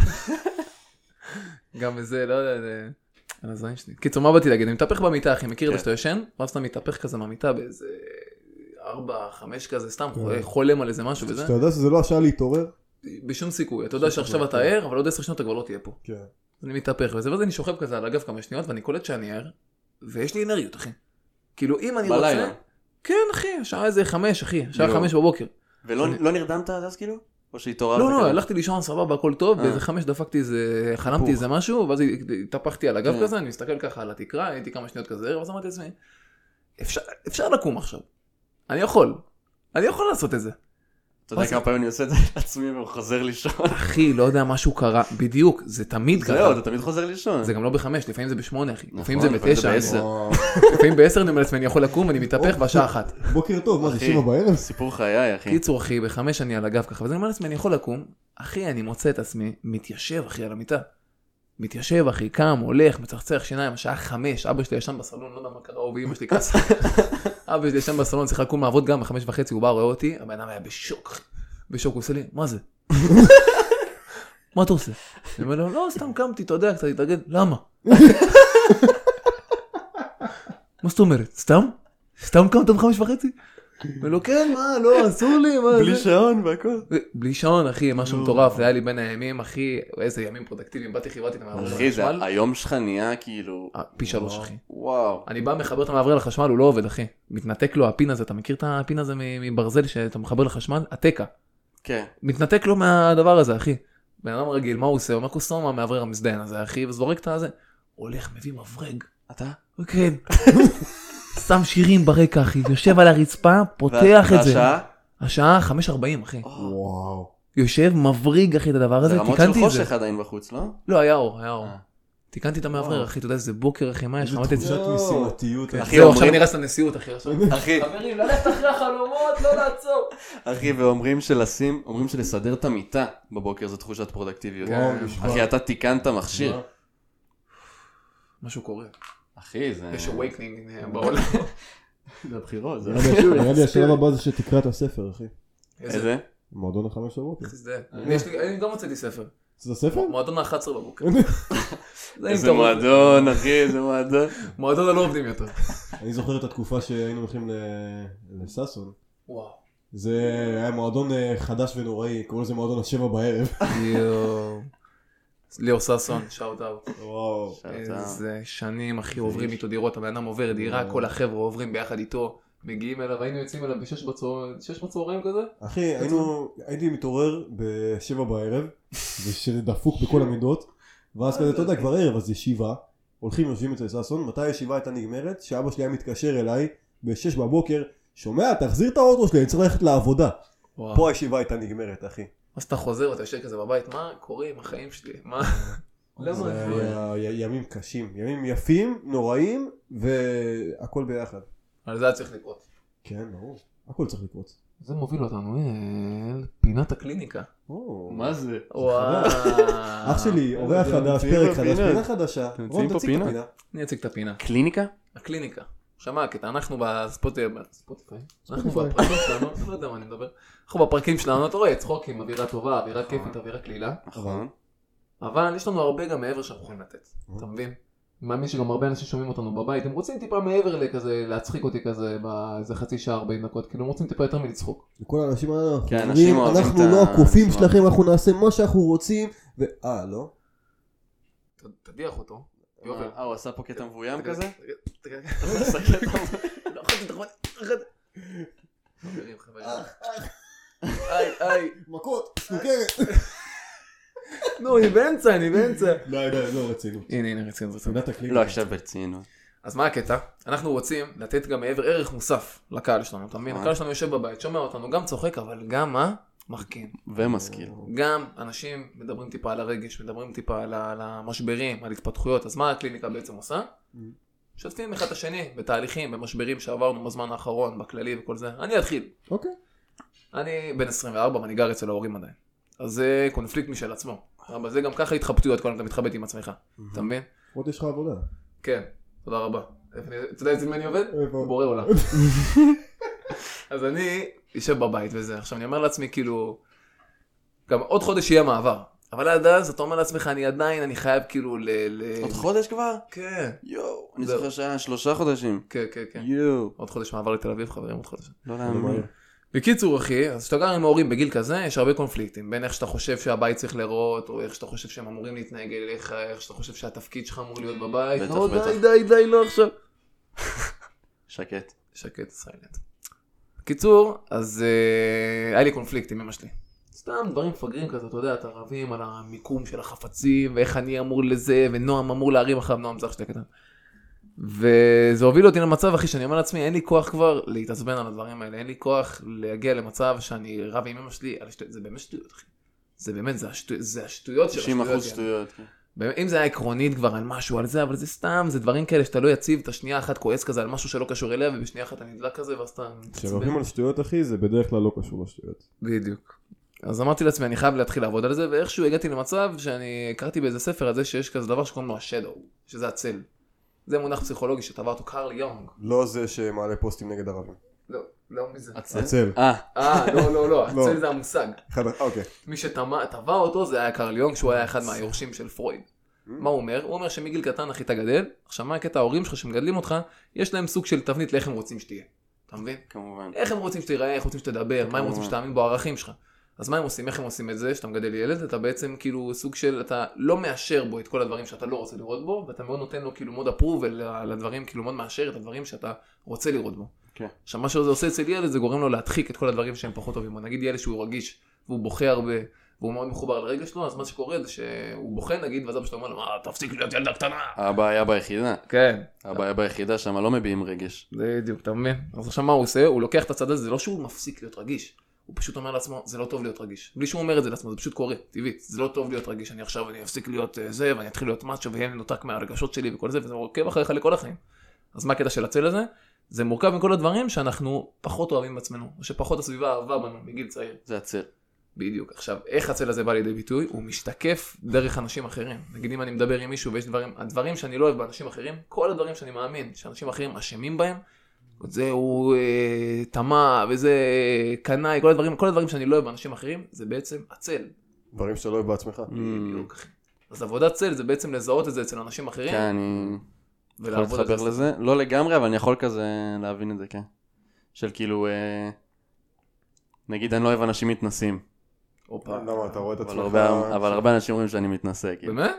גם בזה, לא יודע, זה... על הזין שלי. קיצור, מה באתי להגיד? אני מתהפך במיטה, אחי, מכיר את זה כן. שאתה ישן? ואז אתה מתהפך כזה מהמיטה באיזה... ארבע, חמש כזה, סתם כן. חולם על איזה משהו וזה. שאתה יודע שזה לא השעה להתעורר? בשום סיכוי. אתה יודע שום שעכשיו סיכוי, אתה כן. ער, אבל עוד עשר שניות אתה כבר לא תהיה פה. כן. אז אני מתהפך וזה, ואז אני שוכב כזה על הגב כמה שניות, ואני קולט שאני ער, ויש לי אנרגיות, אחי. כאילו, אם אני רוצה... בלילה. כן אחי, השעה איזה חמש אחי, השעה יואו. חמש בבוקר. ולא לא נרדמת עד אז כאילו? או שהתעוררת? לא, לא, כזה? הלכתי לישון סבבה, הכל טוב, אה. באיזה חמש דפקתי איזה, חלמתי היפוך. איזה משהו, ואז התהפכתי על הגב כן. כזה, אני מסתכל ככה על התקרה, הייתי כמה שניות כזה ער, ואז אמרתי לעצמי, "אפשר- אפשר לקום עכשיו, אני יכול, אני יכול לעשות את זה. אתה יודע כמה פעמים אני עושה את זה לעצמי והוא חוזר לישון. אחי, לא יודע, משהו קרה. בדיוק, זה תמיד זהו, ככה. אתה תמיד חוזר לישון. זה גם לא בחמש, לפעמים זה בשמונה, אחי. לפעמים זה נכון, לפעמים זה בתשע. לא- בעשר. וואו. לפעמים בעשר אני אומר לעצמי, אני יכול לקום, אני מתהפך בשעה אחת. אוקיי. בוקר טוב, מה זה אחי. שבע בערב? סיפור חיי, אחי. קיצור אחי, בחמש אני על הגב ככה, ואז אני אומר לעצמי, אני יכול לקום, אחי, אני מוצא את עצמי, מתיישב אחי על המיטה. מתיישב אחי, קם, הולך, מצחצח שיניים, השעה חמש, אבא שלי ישן בסלון, לא יודע מה קרה, הוא ואימא שלי כעסה. אבא שלי ישן בסלון, צריך לקום לעבוד גם בחמש וחצי, הוא בא, רואה אותי, הבן אדם היה בשוק, אחי. בשוק, הוא עושה לי, מה זה? מה אתה עושה? אני אומר לו, לא, סתם קמתי, אתה יודע, קצת להתארגן, למה? מה זאת אומרת, סתם? סתם קמת בחמש וחצי? אומר לו, כן, מה, לא, אסור לי, מה זה? בלי שעון והכל. אה, בלי שעון אחי משהו מטורף זה היה לי בין הימים אחי איזה ימים פרודקטיביים באתי חיברתי את המעברי אחי, זה לחשמל היום שלך נהיה כאילו... אה, פי שלוש אחי וואו. אני בא מחבר את המעברי לחשמל הוא לא עובד אחי מתנתק לו הפין הזה אתה מכיר את הפין הזה מ- מברזל שאתה מחבר לחשמל התקע כן. מתנתק לו מהדבר הזה אחי בן אדם רגיל מה הוא עושה הוא אומר קוסום המאוורר המזדיין הזה אחי וזורק את הזה הולך מביא מברג אתה? כן שם שירים ברקע אחי יושב על הרצפה פותח את זה והשעה? השעה 5:40 אחי או, וואו. יושב מבריג אחי את הדבר הזה זה רמות של תיקנתי את זה. חושך עדיין בחוץ, לא? לא, היה אור, היה אור. אה. תיקנתי את המאוורר, וואו. אחי, אתה יודע איזה בוקר, אחי, מה יש לך? איזה אמרתי את לא. זה. תחושת משימתיות. כן. אחי. אחי, זהו, אומרים- עכשיו אני רץ לנשיאות, אחי. עכשיו. אחי, חברים, ללכת אחרי החלומות, לא לעצור. אחי, ואומרים שלשים, אומרים שלסדר את המיטה בבוקר זה תחושת פרודקטיביות. וואו, כן. נשמע. אחי, אתה תיקנת מכשיר. מה? משהו קורה. אחי, זה... יש אה. awakening אה, בעולם. זה הבחירות, זה... נראה לי השלב הבא זה שתקרא את הספר, אחי. איזה? אה. מועדון החמש בבוקר. איזה זה. אני יש לי- אני גם הוצאתי ספר. זה ספר? מועדון ה-11 בבוקר. זה אם איזה אתה- מועדון, אחי, איזה מועדון. מועדון הלא עובדים יותר. אני זוכר את התקופה שהיינו הולכים ל- לששון. וואו. זה היה מועדון אה, חדש ונוראי, קוראים לזה מועדון השבע בערב. יואו. ליאור ששון, שאוט אאוט. וואו. איזה שנים אחי עוברים איתו דירות, הבן אדם עובר דירה, כל החבר'ה עוברים ביחד איתו, מגיעים אליו, היינו יוצאים אליו בשש בצהר- שש בצהריים כזה, אחי, היינו, הייתי מתעורר בשבע בערב, ושזה דפוק בכל המידות, ואז כזה, אתה יודע, כבר ערב, אז ישיבה, הולכים יושבים אצל ששון, מתי הישיבה הייתה נגמרת? שאבא שלי היה מתקשר אליי בשש בבוקר, שומע, תחזיר את האוטו שלי, אני צריך ללכת לעבודה. וואו. פה הישיבה הייתה נגמרת, אחי. אז אתה חוזר ואתה יושב כזה בבית, מה קורה עם החיים שלי? מה? למה? זה היה י- ימים קשים, ימים יפים, נוראים, והכל ביחד. על זה היה צריך לקרות. כן, ברור. הכל צריך לקרות. זה מוביל אותנו אל פינת הקליניקה. או. אה, מה זה? וואו. אח שלי, אורח אתם חדש, ממציאים פרק פה חדש, פינות. פינה חדשה. אתם רון, ממציאים פה תציג את פינה. הפינה. אני אציג את הפינה. קליניקה? הקליניקה. שמע, הקטע, אנחנו בספוטיפיי, אנחנו ספוטיפיי. בפרקים שלנו, אני לא יודע מה אני מדבר. אנחנו בפרקים שלנו, אתה רואה, צחוקים, אווירה טובה, אווירה כיפית, אווירה קלילה. נכון. אבל יש לנו הרבה גם מעבר שאנחנו יכולים לתת, אתה מבין? אני מאמין שגם הרבה אנשים שומעים אותנו בבית, הם רוצים טיפה מעבר לכזה, להצחיק אותי כזה, באיזה חצי שעה, 40 דקות, כאילו הם רוצים טיפה יותר מלצחוק. וכל האנשים האלה, כן, אומרים, אנשים אוהבים אנחנו את לא ה- הקופים נשמע. שלכם, אנחנו נעשה מה שאנחנו רוצים, ו... אה, לא? ת- תדיח אותו. יובל. אה, הוא עשה פה קטע מבוים כזה? תגיד, תגיד, תגיד. הוא עשה קטע מבוים. לא יכולתי, אתה יכול- חברים, חברים. איי, איי. מכות, סוכרת. נו, אני באמצע, אני באמצע. די, די, לא רצינו. הנה, הנה, רצינות, רצינות. פינת הקליפ. לא, עכשיו ברצינות. אז מה הקטע? אנחנו רוצים לתת גם מעבר ערך מוסף לקהל שלנו, אתה מבין? נכון. הקהל שלנו יושב בבית, שומע אותנו, גם צוחק, אבל גם מה? מחכים. ומשכיל. גם אנשים מדברים טיפה על הרגש, מדברים טיפה על, ה- על המשברים, על התפתחויות, אז מה הקליניקה בעצם עושה? משתפים אחד את השני בתהליכים, במשברים שעברנו בזמן האחרון, בכללי וכל זה. אני אתחיל. אוקיי. אני בן 24 ואני גר אצל ההורים עדיין. אז זה קונפליקט משל עצמו. אבל זה גם ככה התחבטויות, כל הזמן אתה מתחבט עם עצמך. אתה Mm-hmm. מבין? עוד יש לך עבודה. כן, תודה רבה. אתה יודע אצל מי אני עובד? איפה? בורא עולם. אז אני יושב בבית וזה. עכשיו אני אומר לעצמי, כאילו, גם עוד חודש יהיה מעבר. אבל עד אז אתה אומר לעצמך, אני עדיין, אני חייב כאילו ל... ל- עוד חודש כבר? כן, יואו. אני זהו. זוכר שהיה שלושה חודשים. כן, כן, כן. יואו. עוד חודש מעבר לתל אביב, חברים, עוד חודש. לא להאמין. בקיצור, אחי, אז כשאתה גר עם ההורים בגיל כזה, יש הרבה קונפליקטים. בין איך שאתה חושב שהבית צריך להיראות, או איך שאתה חושב שהם אמורים להתנהג אליך, איך שאתה חושב שהתפקיד שלך אמור להיות בבית. בטח, לא, בטח. די, די, די, לא עכשיו. שקט. שקט סיילנט. בקיצור, אז אה, היה לי קונפליקט עם אמא שלי. סתם דברים מפגרים כזה, אתה יודע, אתה רבים על המיקום של החפצים, ואיך אני אמור לזה, ונועם אמור להרים אחריו, נועם זה אח שלי הקטן. וזה הוביל אותי למצב, אחי, שאני אומר לעצמי, אין לי כוח כבר להתעצבן על הדברים האלה, אין לי כוח להגיע למצב שאני רב עם אמא שלי על שטויות, זה באמת שטויות, אחי. זה באמת, זה, השטו... זה השטויות של 90% השטויות. יעני. שטויות. כן. באמת, אם זה היה עקרונית כבר על משהו על זה, אבל זה סתם, זה דברים כאלה שאתה לא יציב, אתה שנייה אחת כועס כזה על משהו שלא קשור אליה, ובשנייה אחת אתה נדלק כזה, ואז אתה מתעצבן. כשאומרים על שטויות אחי זה בדרך כלל לא קשור לשטויות. בדיוק. אז אמרתי לעצמי, אני חייב להתחיל לעבוד על זה, ואיכשהו הגעתי למצב שאני הכרתי באיזה ספר על זה שיש כזה דבר שקוראים לו השדו, שזה הצל. זה מונח פסיכולוגי שטבע אותו קרל יונג. לא זה שמעלה פוסטים נגד ערבים. לא, לא מזה. הצל. אה, אה, לא, לא, לא, לא. הצל זה המושג. אחד- אה, אוקיי. מי שטבע אותו זה היה קרל יונג, שהוא היה אחד מהיורשים של פרויד. מה הוא אומר? הוא אומר שמגיל קטן אחי אתה גדל, עכשיו מה הקטע ההורים שלך שמגדלים אותך, יש להם סוג של תבנית לאיך הם רוצים שתהיה. אתה מבין? כמובן. איך הם רוצים שתיראה, איך רוצים שתדבר, מה הם רוצים כמובן. שתאמין בו, הערכים שלך. אז מה הם עושים, איך הם עושים את זה, שאתה מגדל ילד, אתה בעצם כאילו סוג של, אתה לא מאשר בו את כל הדברים שאתה לא רוצה לראות בו, ואתה מאוד נותן לו כאילו מאוד approval לדברים, כאילו מאוד מאשר את הדברים שאתה רוצה לראות בו. כן. עכשיו מה שזה עושה אצל ילד זה גורם לו להדחיק את כל הדברים שהם פחות טובים, בו. נגיד ילד שהוא רגיש, והוא בוכה הרבה, והוא מאוד מחובר לרגע שלו, אז מה שקורה זה שהוא בוכה נגיד, ואז אבא שלו אומר לו, מה, תפסיק להיות ילדה קטנה. הבעיה ביחידה. כן. הבעיה ביחידה שם לא מביעים רגש. בדיוק, אתה מבין? אז עכשיו מה הוא עושה? הוא לוקח את הצד הזה, זה לא שהוא מפסיק להיות רגיש. הוא פשוט אומר לעצמו, זה לא טוב להיות רגיש. בלי שהוא אומר את זה לעצמו, זה פשוט קורה, טבעית. זה לא טוב להיות רגיש, אני עכשיו, אני אפסיק להיות אה, זה, ואני אתחיל להיות מאצ'ו, ואהיה מנותק מהרגשות שלי וכל זה, וזה עוקב אחריך לכל החיים. אז מה הקטע של הצל הזה? זה מורכב מכל הדברים שאנחנו פחות אוהבים בעצמנו, או שפחות הסביבה אהבה בנו מגיל צעיר. זה הציר. בדיוק. עכשיו, איך הצל הזה בא לידי ביטוי? הוא משתקף דרך אנשים אחרים. נגיד אם אני מדבר עם מישהו ויש דברים, הדברים שאני לא אוהב באנשים אחרים, כל הדברים שאני מאמין שאנשים אחרים אשמים בהם, זה הוא אה, טמא וזה אה, קנאי, כל הדברים, כל הדברים שאני לא אוהב באנשים אחרים, זה בעצם הצל. Mm. דברים שאתה לא אוהב בעצמך. בדיוק. אחי. אז עבודת צל זה בעצם לזהות את זה אצל אנשים אחרים, כן, אני יכול ולעבוד על להתחבר זה. לזה. לא לגמרי, אבל אני יכול כזה להבין את זה, כן. של כאילו, אה, נגיד אני לא אוהב אנשים מתנשאים. הופה. למה, לא, אתה רואה את אה, אבל עצמך... הרבה- אבל הרבה אנשים אומרים שאני מתנשא, כאילו. באמת?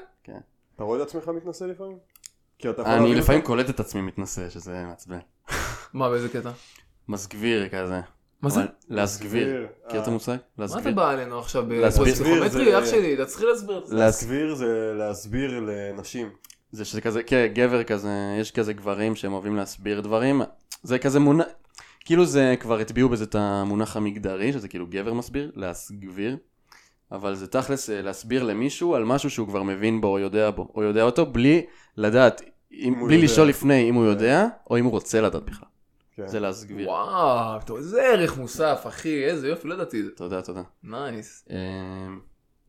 אתה רואה את עצמך מתנשא לפעמים? כי אתה יכול אני להבין לפעמים קולט את עצמי מתנשא, שזה מעצבן. מה, באיזה קטע? מסגביר כזה. מה זה? אבל להסגביר. להסגביר, מכיר את אה. המושג? מה אתה להסגביר. בא עלינו עכשיו להסביר. בפסיכומטרי, זה- אח שלי? אתה צריך להסביר את זה. להס- להסביר זה להסביר לנשים. זה שזה כזה, כן, גבר כזה, יש כזה גברים שהם אוהבים להסביר דברים, זה כזה מונח, כאילו זה כבר הטביעו בזה את המונח המגדרי, שזה כאילו גבר מסביר, להסגביר, אבל זה תכלס אה, להסביר למישהו על משהו שהוא כבר מבין בו או יודע בו, או יודע אותו, בלי לדעת, אם, אם הוא בלי יודע. לשאול לפני אם הוא יודע, או אם הוא רוצה לדעת בכלל, כן. זה לא- להסגביר. וואו, טוב, זה ערך מוסף, אחי, איזה יופי, לא ידעתי את זה. תודה, תודה. נייס. אמ,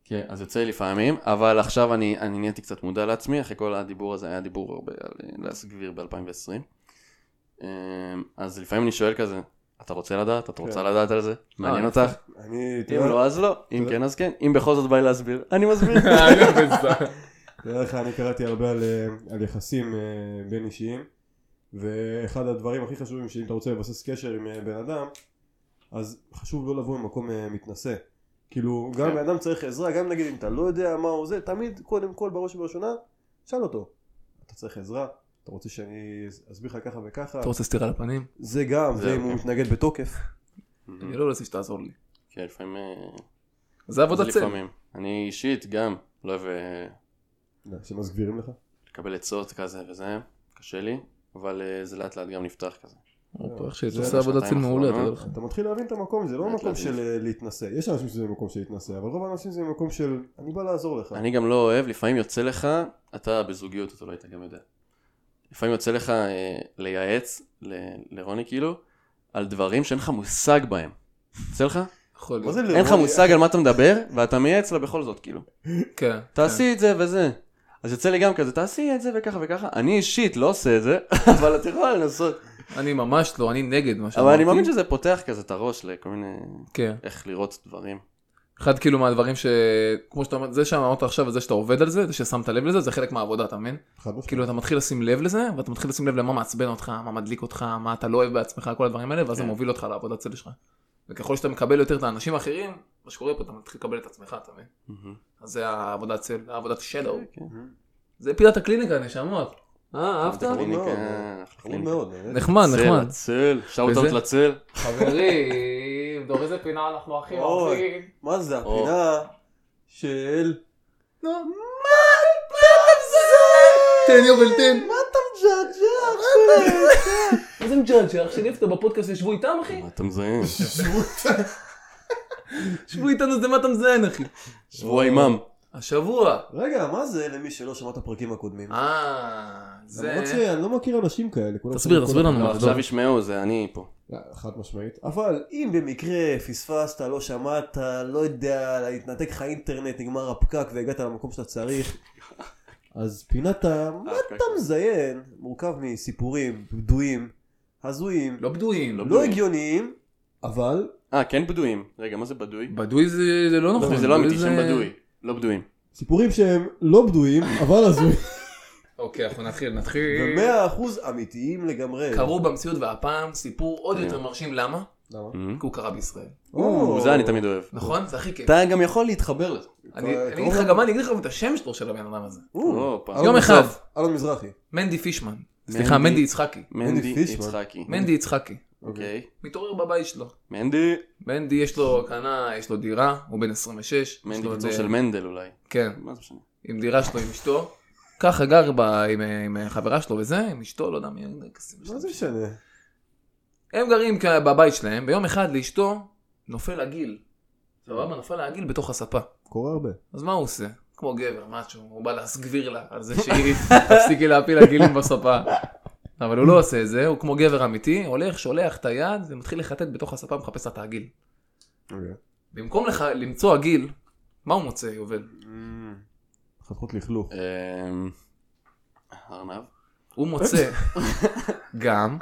כן, אז יוצא לי לפעמים, אבל עכשיו אני, אני נהייתי קצת מודע לעצמי, אחרי כל הדיבור הזה היה דיבור הרבה על אה, להסגביר ב-2020. אז לפעמים אני שואל כזה, אתה רוצה לדעת? אתה רוצה לדעת על זה? מעניין כן. אה, אותך? אני, אתה אם יודע- לא, אז לא. אם תראה. כן, אז כן. אם בכל זאת בא לי להסביר, אני מסביר. תאר לך, אני קראתי הרבה על, אה, על יחסים אה, בין אישיים, ואחד הדברים הכי חשובים שאם אתה רוצה לבסס קשר עם אה, בן אדם, אז חשוב לא לבוא ממקום אה, מתנשא. כאילו, גם כן. בן אדם צריך עזרה, גם נגיד אם אתה לא יודע מה הוא זה, תמיד קודם כל בראש ובראשונה, שאל אותו. אתה צריך עזרה? אתה רוצה שאני אסביר לך ככה וככה? אתה רוצה סטירה לפנים? Mm. זה גם, זה זה אם הוא אוקיי. מתנגד בתוקף. אני לא רוצה שתעזור לי. כן, לפעמים... אה, זה עבודת זה צל. לפעמים. אני אישית גם לא אוהב אה, לא, שמסגבירים לך? לקבל עצות כזה וזה, קשה לי, אבל אה, זה לאט לאט גם נפתח כזה. הופה, איך שאתה זה עושה עבודת צל בשנתיים מעולה, אתה יודע האחרונות. לך. אתה מתחיל להבין את המקום, זה לא באמת מקום להבין. של אה, להתנשא. יש אנשים שזה מקום של להתנשא, אבל רוב האנשים זה מקום של אני בא לעזור לך. אני גם לא אוהב, לפעמים יוצא לך, אתה בזוגיות, אתה לא היית גם יודע. לפעמים יוצא לך אה, לייעץ ל- לרוני כאילו, על דברים שאין לך מושג בהם. יוצא לך? יכול מה להיות. זה לרוני? אין לך מושג על מה אתה מדבר, ואתה מייעץ לה בכל זאת, כאילו. כן. תעשי את זה וזה. אז יוצא לי גם כזה, תעשי את זה וככה וככה. אני אישית לא עושה את זה, אבל את יכולה לנסות. כן. אני ממש לא, אני נגד מה שאמרתי. אבל אני מאמין שזה פותח כזה את הראש לכל מיני... כן. איך לראות דברים. אחד כאילו מהדברים ש... כמו שאתה אומר, זה שאמרת עכשיו וזה שאתה עובד על זה, זה ששמת לב לזה, זה חלק מהעבודה, אתה מבין? חד משמעית. כאילו אתה מתחיל לשים לב לזה, ואתה מתחיל לשים לב למה מעצבן אותך, מה מדליק אותך, מה אתה לא אוהב בעצמך, כל הדברים האלה, ואז זה כן. מוביל אותך לעבודת צל שלך. וככל שאתה מקבל יותר את האנשים האחרים, מה שקורה פה, אתה מתחיל לקבל את עצמך, אתה מבין? אז זה העבודת צל, העבודת שלו. כן. זה פינת הקליניקה, נשמות. אה, אהבת? חמוד קליניקה, מאוד. חמוד קליניקה. מאוד. באמת. נחמד, נחמד. צל, כן, צל, שאוט-אאוט נכון, וזה? לצל. חברים, דור איזה פינה אנחנו הכי אוי. אוהבים. מה זה או. הפינה של... נו, מה אתה לא, מזלזל? תן יובל תן. מה אתה מג'עג'ע? איזה מג'אנג'ה, אח שלי, איפה אתה בפודקאסט, ישבו איתם, אחי? מה אתה מזיין? ישבו איתנו, זה מה אתה מזיין, אחי? שבוע עימם. השבוע. רגע, מה זה למי שלא שמע את הפרקים הקודמים? אה, זה... למרות שאני לא מכיר אנשים כאלה. כולם שומעים תסביר, תסביר כל לנו לא, מה זה. עכשיו ישמעו, זה אני פה. לא, חד משמעית. אה, אבל אם במקרה פספסת, לא שמעת, לא יודע, התנתק לך אינטרנט, נגמר הפקק והגעת למקום שאתה צריך, אז פינת ה... מה אה, אתה מזיין? מורכב מסיפורים בדויים, הזויים, לא בדויים, לא הגיוניים, אבל אה, כן בדויים. רגע, מה זה בדוי? בדוי זה זה לא נכון. לא, זה לא בדוי אמיתי, שם בדוי. לא בדויים. סיפורים שהם לא בדויים, אבל הזויים. אוקיי, אנחנו נתחיל, נתחיל. במאה אחוז אמיתיים לגמרי. קרו במציאות והפעם סיפור עוד יותר מרשים, למה? למה? אמ? כי הוא קרה בישראל. או, זה אני תמיד אוהב. נכון? זה הכי כיף. אתה גם יכול להתחבר לזה. אני אתה- אני אגיד לך גם מה, אני אגיד לך גם את השם שלו של הבן אדם הזה. או, הופה. אה, יום מזרח. אחד, אלון מזרחי. אוקיי. מנדי פישמן. סליחה, מנדי יצחקי. מנדי מנדי פישמן. יצחקי. מנדי יצחקי. אוקיי. מתעורר בבית שלו. מנדי. מנדי יש לו קנה, יש לו דירה, הוא בן 26. יש מנדי לו קיצור את, של אה, מנדל אולי. כן, מה זה משנה? עם דירה שלו, עם אשתו. ככה גר ב- עם, אה, עם חברה שלו וזה, עם אשתו, לא יודע מי... מה זה משנה? הם גרים כ- בבית שלהם, ביום אחד לאשתו נופל עגיל. סבבה, נופל העגיל בתוך הספה. קורה הרבה. אז מה הוא עושה? כמו גבר, מאצ'ו, הוא בא להסגביר לה על זה שהיא תפסיקי להפיל עגילים בספה. אבל הוא לא עושה את זה, הוא כמו גבר אמיתי, הולך, שולח את היד ומתחיל לחטט בתוך הספה, מחפש לה את העגיל. אוקיי. במקום לך למצוא עגיל, מה הוא מוצא, יובל? חתכות לכלוך. אמ, ארנב. הוא מוצא גם,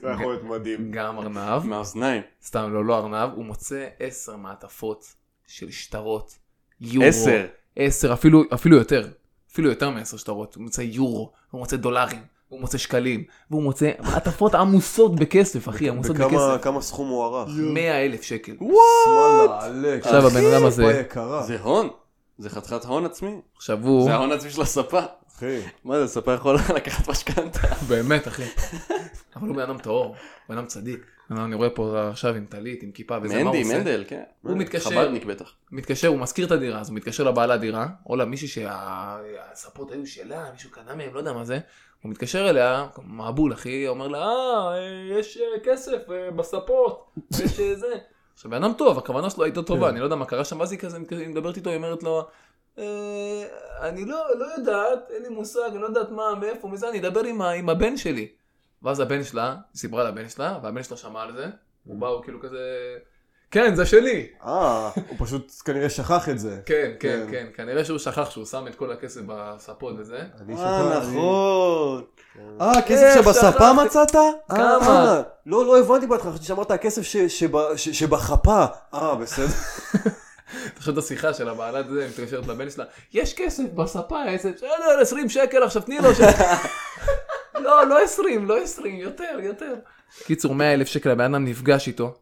זה יכול להיות מדהים. גם ארנב, מהאוזניים. סתם לא, לא ארנב, הוא מוצא עשר מעטפות של שטרות, יורו, עשר. עשר, אפילו, אפילו יותר, אפילו יותר מעשר שטרות, הוא מוצא יורו, הוא מוצא דולרים, הוא מוצא שקלים, והוא מוצא מעטפות עמוסות בכסף, אחי, עמוסות בכסף, בכמה סכום הוא ערך? 100 אלף שקל. וואלה, עלק. עכשיו הבן אדם הזה- אחי, יקרה. זה הון. זה חתיכת הון עצמי. עכשיו הוא, זה ההון העצמי של הספה. אחי. מה זה, הספה יכול לקחת משכנתה. באמת אחי, אבל הוא בן אדם טהור, בן אדם צדיק, אני רואה פה עכשיו עם טלית, עם כיפה וזה, מה הוא מנדי, עושה? מנדל, כן. הוא מתקשר. חב"דניק בטח. מתקשר, הוא משכיר את הדירה, אז הוא מתקשר לבעל הדירה, או למישהי שהספות היו שלה, מישהו קנה מהם, לא יודע מה זה. הוא מתקשר אליה, מעבול אחי, אומר לה, אה, יש אה, כסף אה, בספות, יש אה, זה. עכשיו, בן אדם טוב, הכוונה שלו הייתה טובה, אני לא יודע מה קרה שם, ואז היא כזה, היא מדברת איתו, היא אומרת לו, "אה, אני לא, לא יודעת, אין לי מושג, אני לא יודעת מה, מאיפה, מזה, אני אדבר עם, ה- עם הבן שלי. ואז הבן שלה, היא סיפרה לבן שלה, והבן שלה שמע על זה, הוא בא, הוא כאילו כזה, כן, זה שלי, אה, הוא פשוט כנראה שכח את זה. כן, כן, כן. כן, כנראה שהוא שכח שהוא שם את כל הכסף בספות וזה. אני אה, שכח, נכון. אה, איך הכסף שבספה שכחתי? מצאת? אה, כמה? אה, לא, לא הבנתי בהתחלה, חשבתי שאמרת הכסף ש- שב- ש- שבחפה. אה, בסדר. פשוט השיחה של הבעלת זה, מתקשרת לבן שלה, יש כסף בספה, איזה, לא, בסדר, 20 שקל עכשיו, תני לו. ש-" לא, לא 20, לא 20, יותר, יותר. קיצור, 100 אלף שקל, הבן אדם נפגש איתו.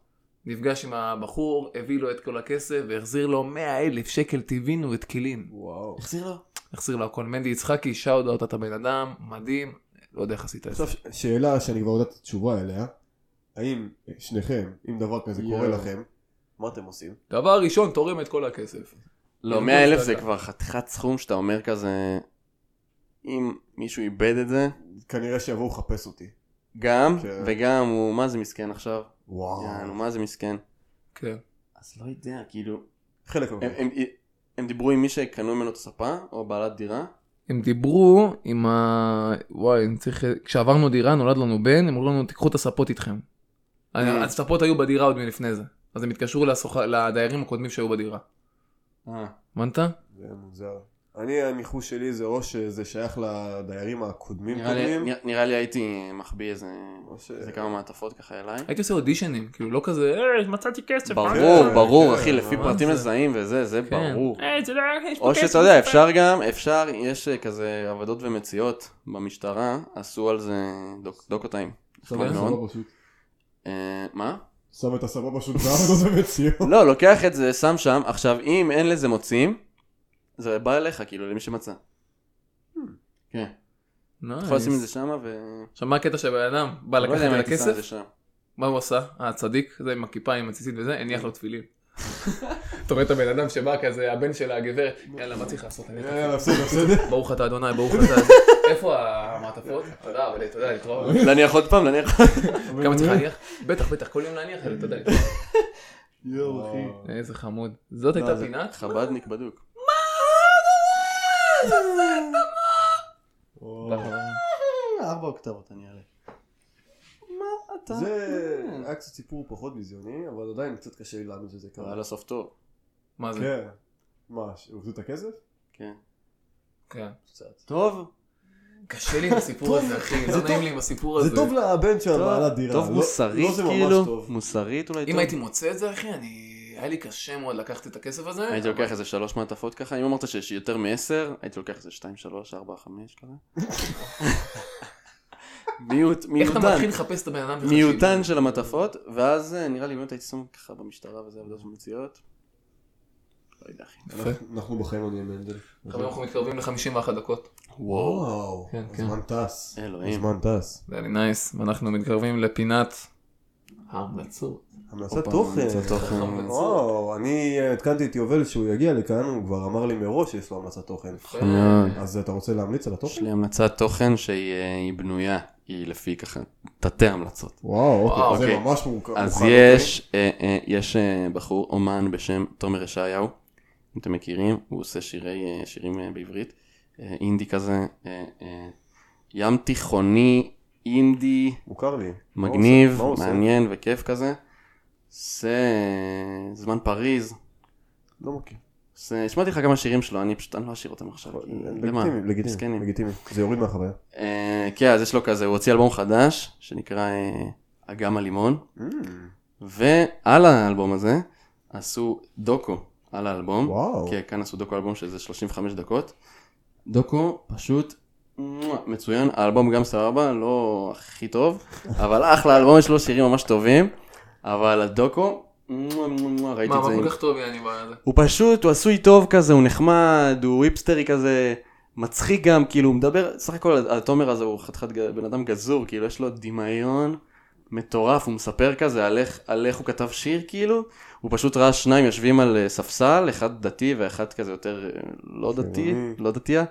נפגש עם הבחור, הביא לו את כל הכסף והחזיר לו 100 אלף שקל טבעין ותקילין. וואו. החזיר לו. החזיר לו הכל. מנדי יצחקי, שאוד אאוט אתה בן אדם, מדהים, לא יודע איך עשית את זה. עכשיו, ש- שאלה שאני כבר יודע את התשובה אליה, האם שניכם, אם דבר כזה קורה יואו. לכם, מה אתם עושים? דבר ראשון, תורם את כל הכסף. לא, 100 אלף זה כבר חתיכת סכום שאתה אומר כזה, אם מישהו איבד את זה, כנראה שיבואו לחפש אותי. גם, כן. וגם הוא, מה זה מסכן עכשיו? אה. וואו. יענו, מה זה מסכן? כן. אז לא יודע, כאילו... אה, חלק הם- מהם. הם- הם דיברו עם מי שקנו ממנו את הספה, או בעלת דירה? הם דיברו עם ה... וואי, אני צריך... כשעברנו דירה, נולד לנו בן, הם אמרו לנו, תיקחו את הספות איתכם. אה. אני- הספות היו בדירה עוד מלפני זה. אז הם התקשרו לסוח- לדיירים הקודמים שהיו בדירה. אה. הבנת? זה מוזר. אני, הניחוש שלי זה או שזה שייך לדיירים הקודמים נראה לי- קודמים, נרא- נראה לי הייתי מחביא איזה או ש... איזה כמה מעטפות ככה אליי. הייתי עושה אודישנים, כאילו לא כזה, אה, מצאתי כסף. ברור, כן, ברור, כן, אחי, לפי ממש פרטים זה. מזהים וזה, זה כן. ברור. אה, אתה יודע, יש פה או כסף, שאתה יודע, מצאתי. אפשר גם, אפשר, יש אה, כזה עבודות ומציאות במשטרה, עשו על זה דוק- דוקו-טיים. שם את הסבא פשוט. אה, מה? שם את הסבא פשוט בעבודות במציאות. לא, לוקח את זה, שם שם, עכשיו אם אין לזה מוצאים, זה בא אליך, כאילו, למי שמצא. אה, כן. אתה יכול לשים את זה נייס. שמה ו... עכשיו, מה הקטע שהבן אדם בא לא לקחת יודע אם את הייתי שם את זה הכסף? שם. מה הוא עשה? אה, הצדיק, זה עם הכיפה, עם הציצית וזה, הניח לו תפילין. אתה רואה את הבן אדם שבא כזה, הבן של הגברת, יאללה, מה צריך לעשות? אני אתן לך." בסדר, בסדר. ברוך אתה אדוני, ברוך אתה... איפה המעטפה? בכבוד. תודה, אבל תודה, להתראות. להניח עוד פעם, להניח... כמה צריך להניח? בטח, בטח, כל יום להניח, אבל תודה. להתראות. יואו, אחי. איזה חמוד. זאת הייתה לא, זה- פינת. חבדניק בדוק. ארבע אוקטבות אני אעלה. מה אתה? זה כן. היה קצת סיפור פחות ביזיוני, אבל עדיין קצת קשה לי להאמין שזה היה קרה. לו סוף טוב. מה זה? כן. מה, הוציאו את הכסף? כן. כן. טוב. קשה לי עם הסיפור הזה, אחי. זה לא טוב. נעים לי עם הסיפור הזה. זה טוב לבן של בעלת דירה. טוב לא- מוסרית לא זה ממש כאילו. טוב. מוסרית אולי טוב. אם הייתי מוצא את זה, אחי, אני... היה לי קשה מאוד לקחת את הכסף הזה. הייתי לוקח איזה שלוש מעטפות ככה, אם אמרת שיש יותר מעשר, הייתי לוקח איזה שתיים, שלוש, ארבע, חמש ככה. מיעוט, איך אתה מתחיל מיעוטן, לחפש את הבן אדם? בחשיבה? מיעוטן של המעטפות, ואז אה, נראה לי באמת הייתי שם ככה במשטרה וזה עבודות מציאות. לא יודע אחי. אנחנו בחיים לא נהיה מנדל. חברים, אנחנו מתקרבים ל-51 דקות. וואו. וואו, כן, כן. הזמן טס. אלוהים. הזמן טס. זה היה לי נייס, ואנחנו מתקרבים לפינת ההמלצות. המלצת הופה, המלצת תוכן. תוכן. וואו, אני אה, עדכנתי את יובל שהוא יגיע לכאן, הוא כבר אמר לי מראש שיש לו המלצת תוכן. מאוד. אז אה, אתה רוצה להמליץ על יש התוכן? לי המלצת תוכן שהיא אה, היא בנויה, היא לפי ככה תתי המלצות. וואו, וואו, אוקיי, זה אוקיי. ממש מורכב. אז מוכן, יש, אה, אה, יש אה, בחור אומן בשם תומר ישעיהו, אם אתם מכירים, הוא עושה שירי, אה, שירים אה, בעברית, אה, אינדי כזה, אה, אה, ים תיכוני, אינדי, אוקיי? מוכר לי. מה הוא מגניב, עושה? מה הוא עושה? מעניין וכיף כזה. עושה אה, זמן פריז, לא מכיר. אה, עושה- השמעתי לך כמה שירים שלו, אני פשוט, אני לא אשאיר אותם עכשיו, כי- למה? לגיטימי, לגיטימי, מסכנים. לגיטימי. זה יוריד מהחוויה. אה, כן, אז יש לו כזה, הוא הוציא אלבום חדש, שנקרא אה, אגם הלימון. ועל האלבום הזה עשו דוקו על האלבום. וואו. כן, כאן עשו דוקו אלבום שזה 35 דקות. דוקו פשוט מואה, מצוין, האלבום גם סבבה, לא הכי טוב, אבל אחלה אלבום, יש לו שירים ממש טובים, אבל הדוקו, מואה, מואה, מואה, ראיתי מה, את מה זה. עם- כל כך טוב יעני בזה? הוא פשוט, הוא עשוי טוב כזה, הוא נחמד, הוא וויפסטרי כזה, מצחיק גם, כאילו, הוא מדבר, סך הכל התומר הזה הוא חתיכת ג- בן אדם גזור, כאילו, יש לו דמיון מטורף, הוא מספר כזה על איך, על איך הוא כתב שיר, כאילו, הוא פשוט ראה שניים יושבים על אה, ספסל, אחד דתי ואחד כזה יותר אה, לא דתי, חילוני. לא דתייה,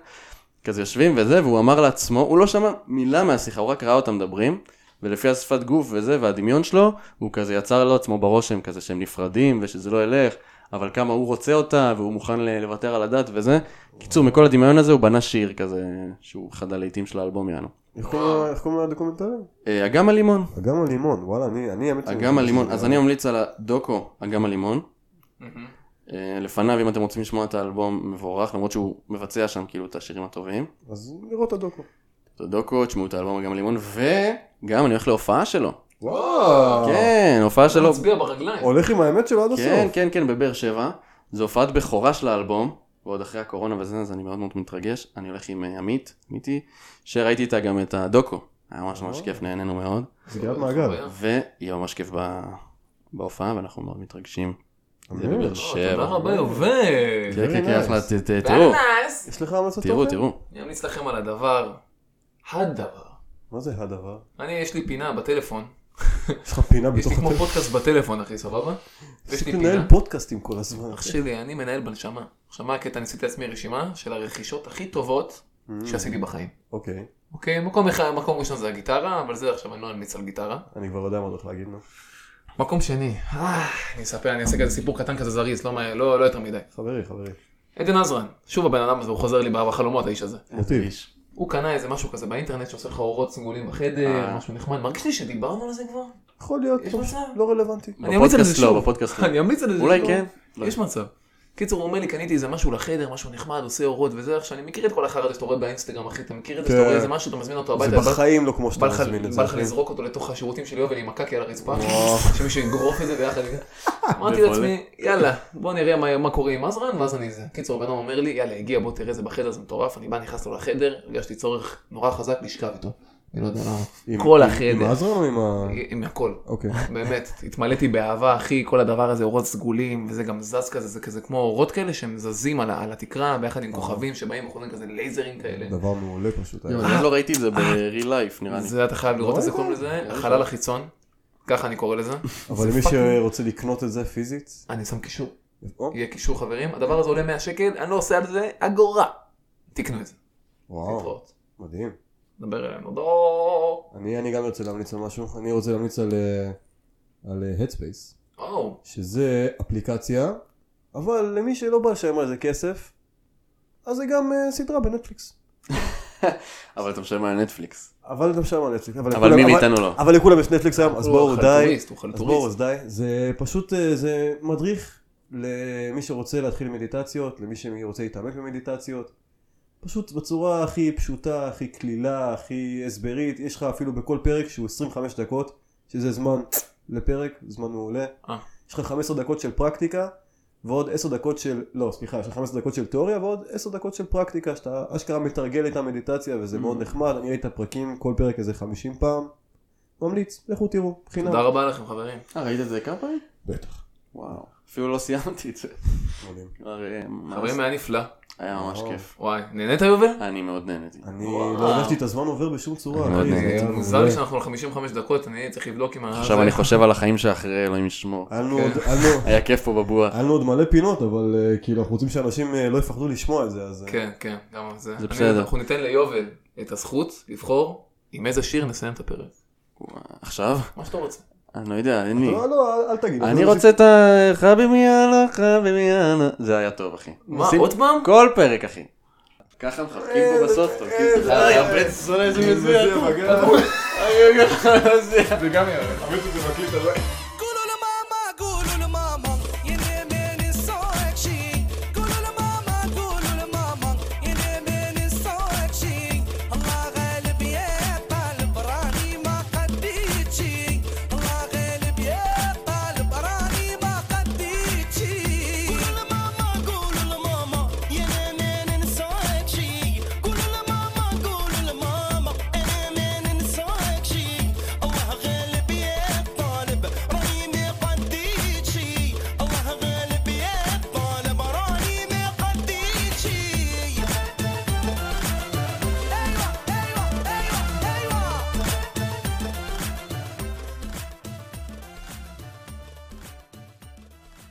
כזה יושבים וזה, והוא אמר לעצמו, הוא לא שמע מילה מהשיחה, הוא רק ראה אותם מדברים. ולפי השפת גוף וזה, והדמיון שלו, הוא כזה יצר לו עצמו ברושם כזה שהם נפרדים ושזה לא ילך, אבל כמה הוא רוצה אותה, והוא מוכן ל- לוותר על הדת וזה. קיצור, מכל הדמיון הזה הוא בנה שיר כזה, שהוא אחד הלהיטים של האלבום יענו. איך קוראים לה- איך קוראים לדוקומנטרים? אה, אגם הלימון, אגם הלימון, וואלה, אני, אני האמת... שאני- אגם הלימון, אז אני ממליץ על הדוקו אגם הלימון. מהמם. אה, לפניו, אם אתם רוצים לשמוע את האלבום, מבורך, למרות שהוא מבצע שם כאילו את השירים הטובים. אז נראות את כן. הדוקו. את הדוקו, תשמעו את האלבום אגם הלימון, וגם אני הולך להופעה שלו. וואו. כן, הופעה אתה שלו. מצביע ברגליים. הולך עם האמת שלו עד הסוף. כן, כן, כן, בבאר שבע. זו הופעת בכורה של האלבום, ועוד אחרי הקורונה וזה, אז אני מאוד מאוד מתרגש. אני הולך עם אה, עמית, עמיתי, שראיתי איתה גם את הדוקו. היה ממש ממש כיף, נהנינו מאוד. סגירת מעגל. ויהיה ממש כיף ב- בהופעה, ואנחנו מאוד מתרגשים. זה אמן. בבאר או, לא, תודה שבע. רבה יובל. כן, כן, Very כן, nice. אחלה, ת- ת- תראו, יש לך אוקיי? המלצת תראו, תוכן? תראו. אני אמליץ לכם על הדבר, הדבר. מה זה הדבר? אני, יש לי פינה בטלפון. יש לך פינה יש בתוך לי כמו הטלפון. פודקאסט בטלפון, אחי, סבבה? יש לי צריך פינה. לנהל פודקאסטים כל הזמן. אח שלי, אני מנהל בנשמה. עכשיו מה הקטע? אני עשיתי לעצמי רשימה של הרכישות הכי טובות שעשיתי בחיים. Mm, אוקיי, אוקיי, מקום אחד, מקום ראשון זה הגיטרה, אבל זה עכשיו אני לא אמליץ על גיטרה. אני כבר יודע מה הולך להגיד נו. מקום שני, אה, אני אספר, אני אעשה כזה סיפור קטן כזה זריז, לא מה- לא לא יותר מדי. חברי, חברי. עדן עזרן, שוב הבן אדם הזה, הוא חוזר לי בחלומות האיש הזה. מוטיב. איש. הוא קנה איזה משהו כזה באינטרנט שעושה לך אורות סגולים בחדר, אה. משהו נחמד. מרגיש לי שדיברנו על זה כבר? יכול להיות, יש טוב, מצב? לא רלוונטי. אני אמליץ על זה בפודקאסט לא, שוב. בפודקאסט לא. אני אמליץ על זה. אולי שוב. כן. יש מצב. קיצור, הוא אומר לי, קניתי איזה משהו לחדר, משהו נחמד, עושה אורות וזה, איך שאני מכיר את כל החרא הזה שאתה רואה באינסטגרם, אחי, אתה מכיר את זה, כן. שאתה רואה איזה משהו, אתה מזמין אותו זה הביתה, בא- בחיים לא כמו שאתה בא לך- מזמין את זה. בא לך אחי. לזרוק אותו לתוך השירותים שלי ולהימקע כי על הרצפה, שמישהו יגרוף את זה ביחד. אמרתי לעצמי, יאללה, בוא נראה מה- מה קורה עם עזרן, ואז אני זה. קיצור, הבן אדם אומר לי, יאללה, הגיע, בוא תראה זה בחדר, זה מטורף, אני בא, נכנס לו לחדר, הרגשתי צורך נורא חזק לשכב איתו. אני לא יודע למה. עם- כל אה, עם- עם החדר, עזרן או עם ה... עם הכל. אוקיי. באמת, התמלאתי באהבה, אחי, כל הדבר הזה, אורות סגולים, וזה גם זז כזה, זה כזה כמו אורות כאלה שהם זזים על, ה- על התקרה, ביחד עם כוכבים שבאים וחוזרים כזה לייזרים כאלה. דבר מעולה פשוט. היה. אני לא ראיתי את זה ב-real life נראה לי. זה אתה חייב לראות איזה קוראים לזה, החלל החיצון, ככה אני קורא לזה. אבל זה מי אה, פאקינג- שרוצה לקנות את זה פיזית, אני שם קישור, או, יהיה קישור חברים, הדבר הזה עולה 100 שקל, אני לא עושה על זה אגורה. תקנו את זה, וואו, להתראות. מדהים. דבר אלינו, דור. אני אני גם רוצה להמליץ על משהו, אני רוצה להמליץ על, אה, על אה, Headspace, או, שזה אפליקציה, אבל למי שלא בא לשלם על זה כסף, אז זה גם אה, סדרה בנטפליקס. אבל אתה משלם על נטפליקס. אבל אתה משלם על נטפליקס. אבל לכולם- מי מאיתנו לא. אבל לכולם יש נטפליקס היום, אז הוא בואו די. חלטוריסט, הוא אז בואו חלטוריסט. אז די, זה פשוט, אה, זה מדריך למי שרוצה להתחיל מדיטציות, למי שרוצה להתעמק במדיטציות, פשוט בצורה הכי פשוטה, הכי קלילה, הכי הסברית, יש לך אפילו בכל פרק שהוא 25 דקות, שזה זמן לפרק, זמן מעולה, אה. יש לך 15 דקות של פרקטיקה, ועוד 10 דקות של, לא סליחה, יש לך 15 דקות של תיאוריה ועוד 10 דקות של פרקטיקה, שאתה אשכרה מתרגל את המדיטציה וזה Mm. מאוד נחמד, אני ראיתי את הפרקים, כל פרק איזה 50 פעם, ממליץ, לכו תראו, חינם. תודה רבה לכם חברים. אה, ראית את זה כמה פעמים? בטח. וואו. אפילו לא סיימתי את זה. מדהים. כבר, אה, ממש- חברים היה נפלא. היה ממש וואו. כיף. וואי, נהנית יובל? אני מאוד נהניתי. אני וואו. לא הרגשתי את הזמן עובר בשום צורה. אני מאוד אחי, זה נהניתי. היה מוזר לי מעולה. שאנחנו על 55 דקות, אני צריך לבדוק אם... ה- עכשיו זה- אני חושב על החיים שאחרי, אלוהים ישמור. היה לנו כן. עוד- היה לנו- היה כיף פה בבועה. היה לנו עוד מלא פינות, אבל אה, כאילו אנחנו רוצים שאנשים אה, לא יפחדו לשמוע את זה, אז... אה, כן, כן, גם על זה. אני- בסדר. אנחנו ניתן ליובל את הזכות לבחור עם איזה שיר נסיים את הפרק. עכשיו? מה שאתה רוצה. אני לא יודע, אין לי. לא, לא, אל- אל תגיד. אני אנחנו רוצה את ה... חביבי יאללה, חביבי יאללה. זה היה טוב, אחי. מה, עושים עוד פעם? כל פרק, אחי. ככה מחבקים פה בסוף, תומכים את זה. אה, יא בן זונה, איזה מזויף. רוצים- אה, רגע, זה- זה גם יאללה.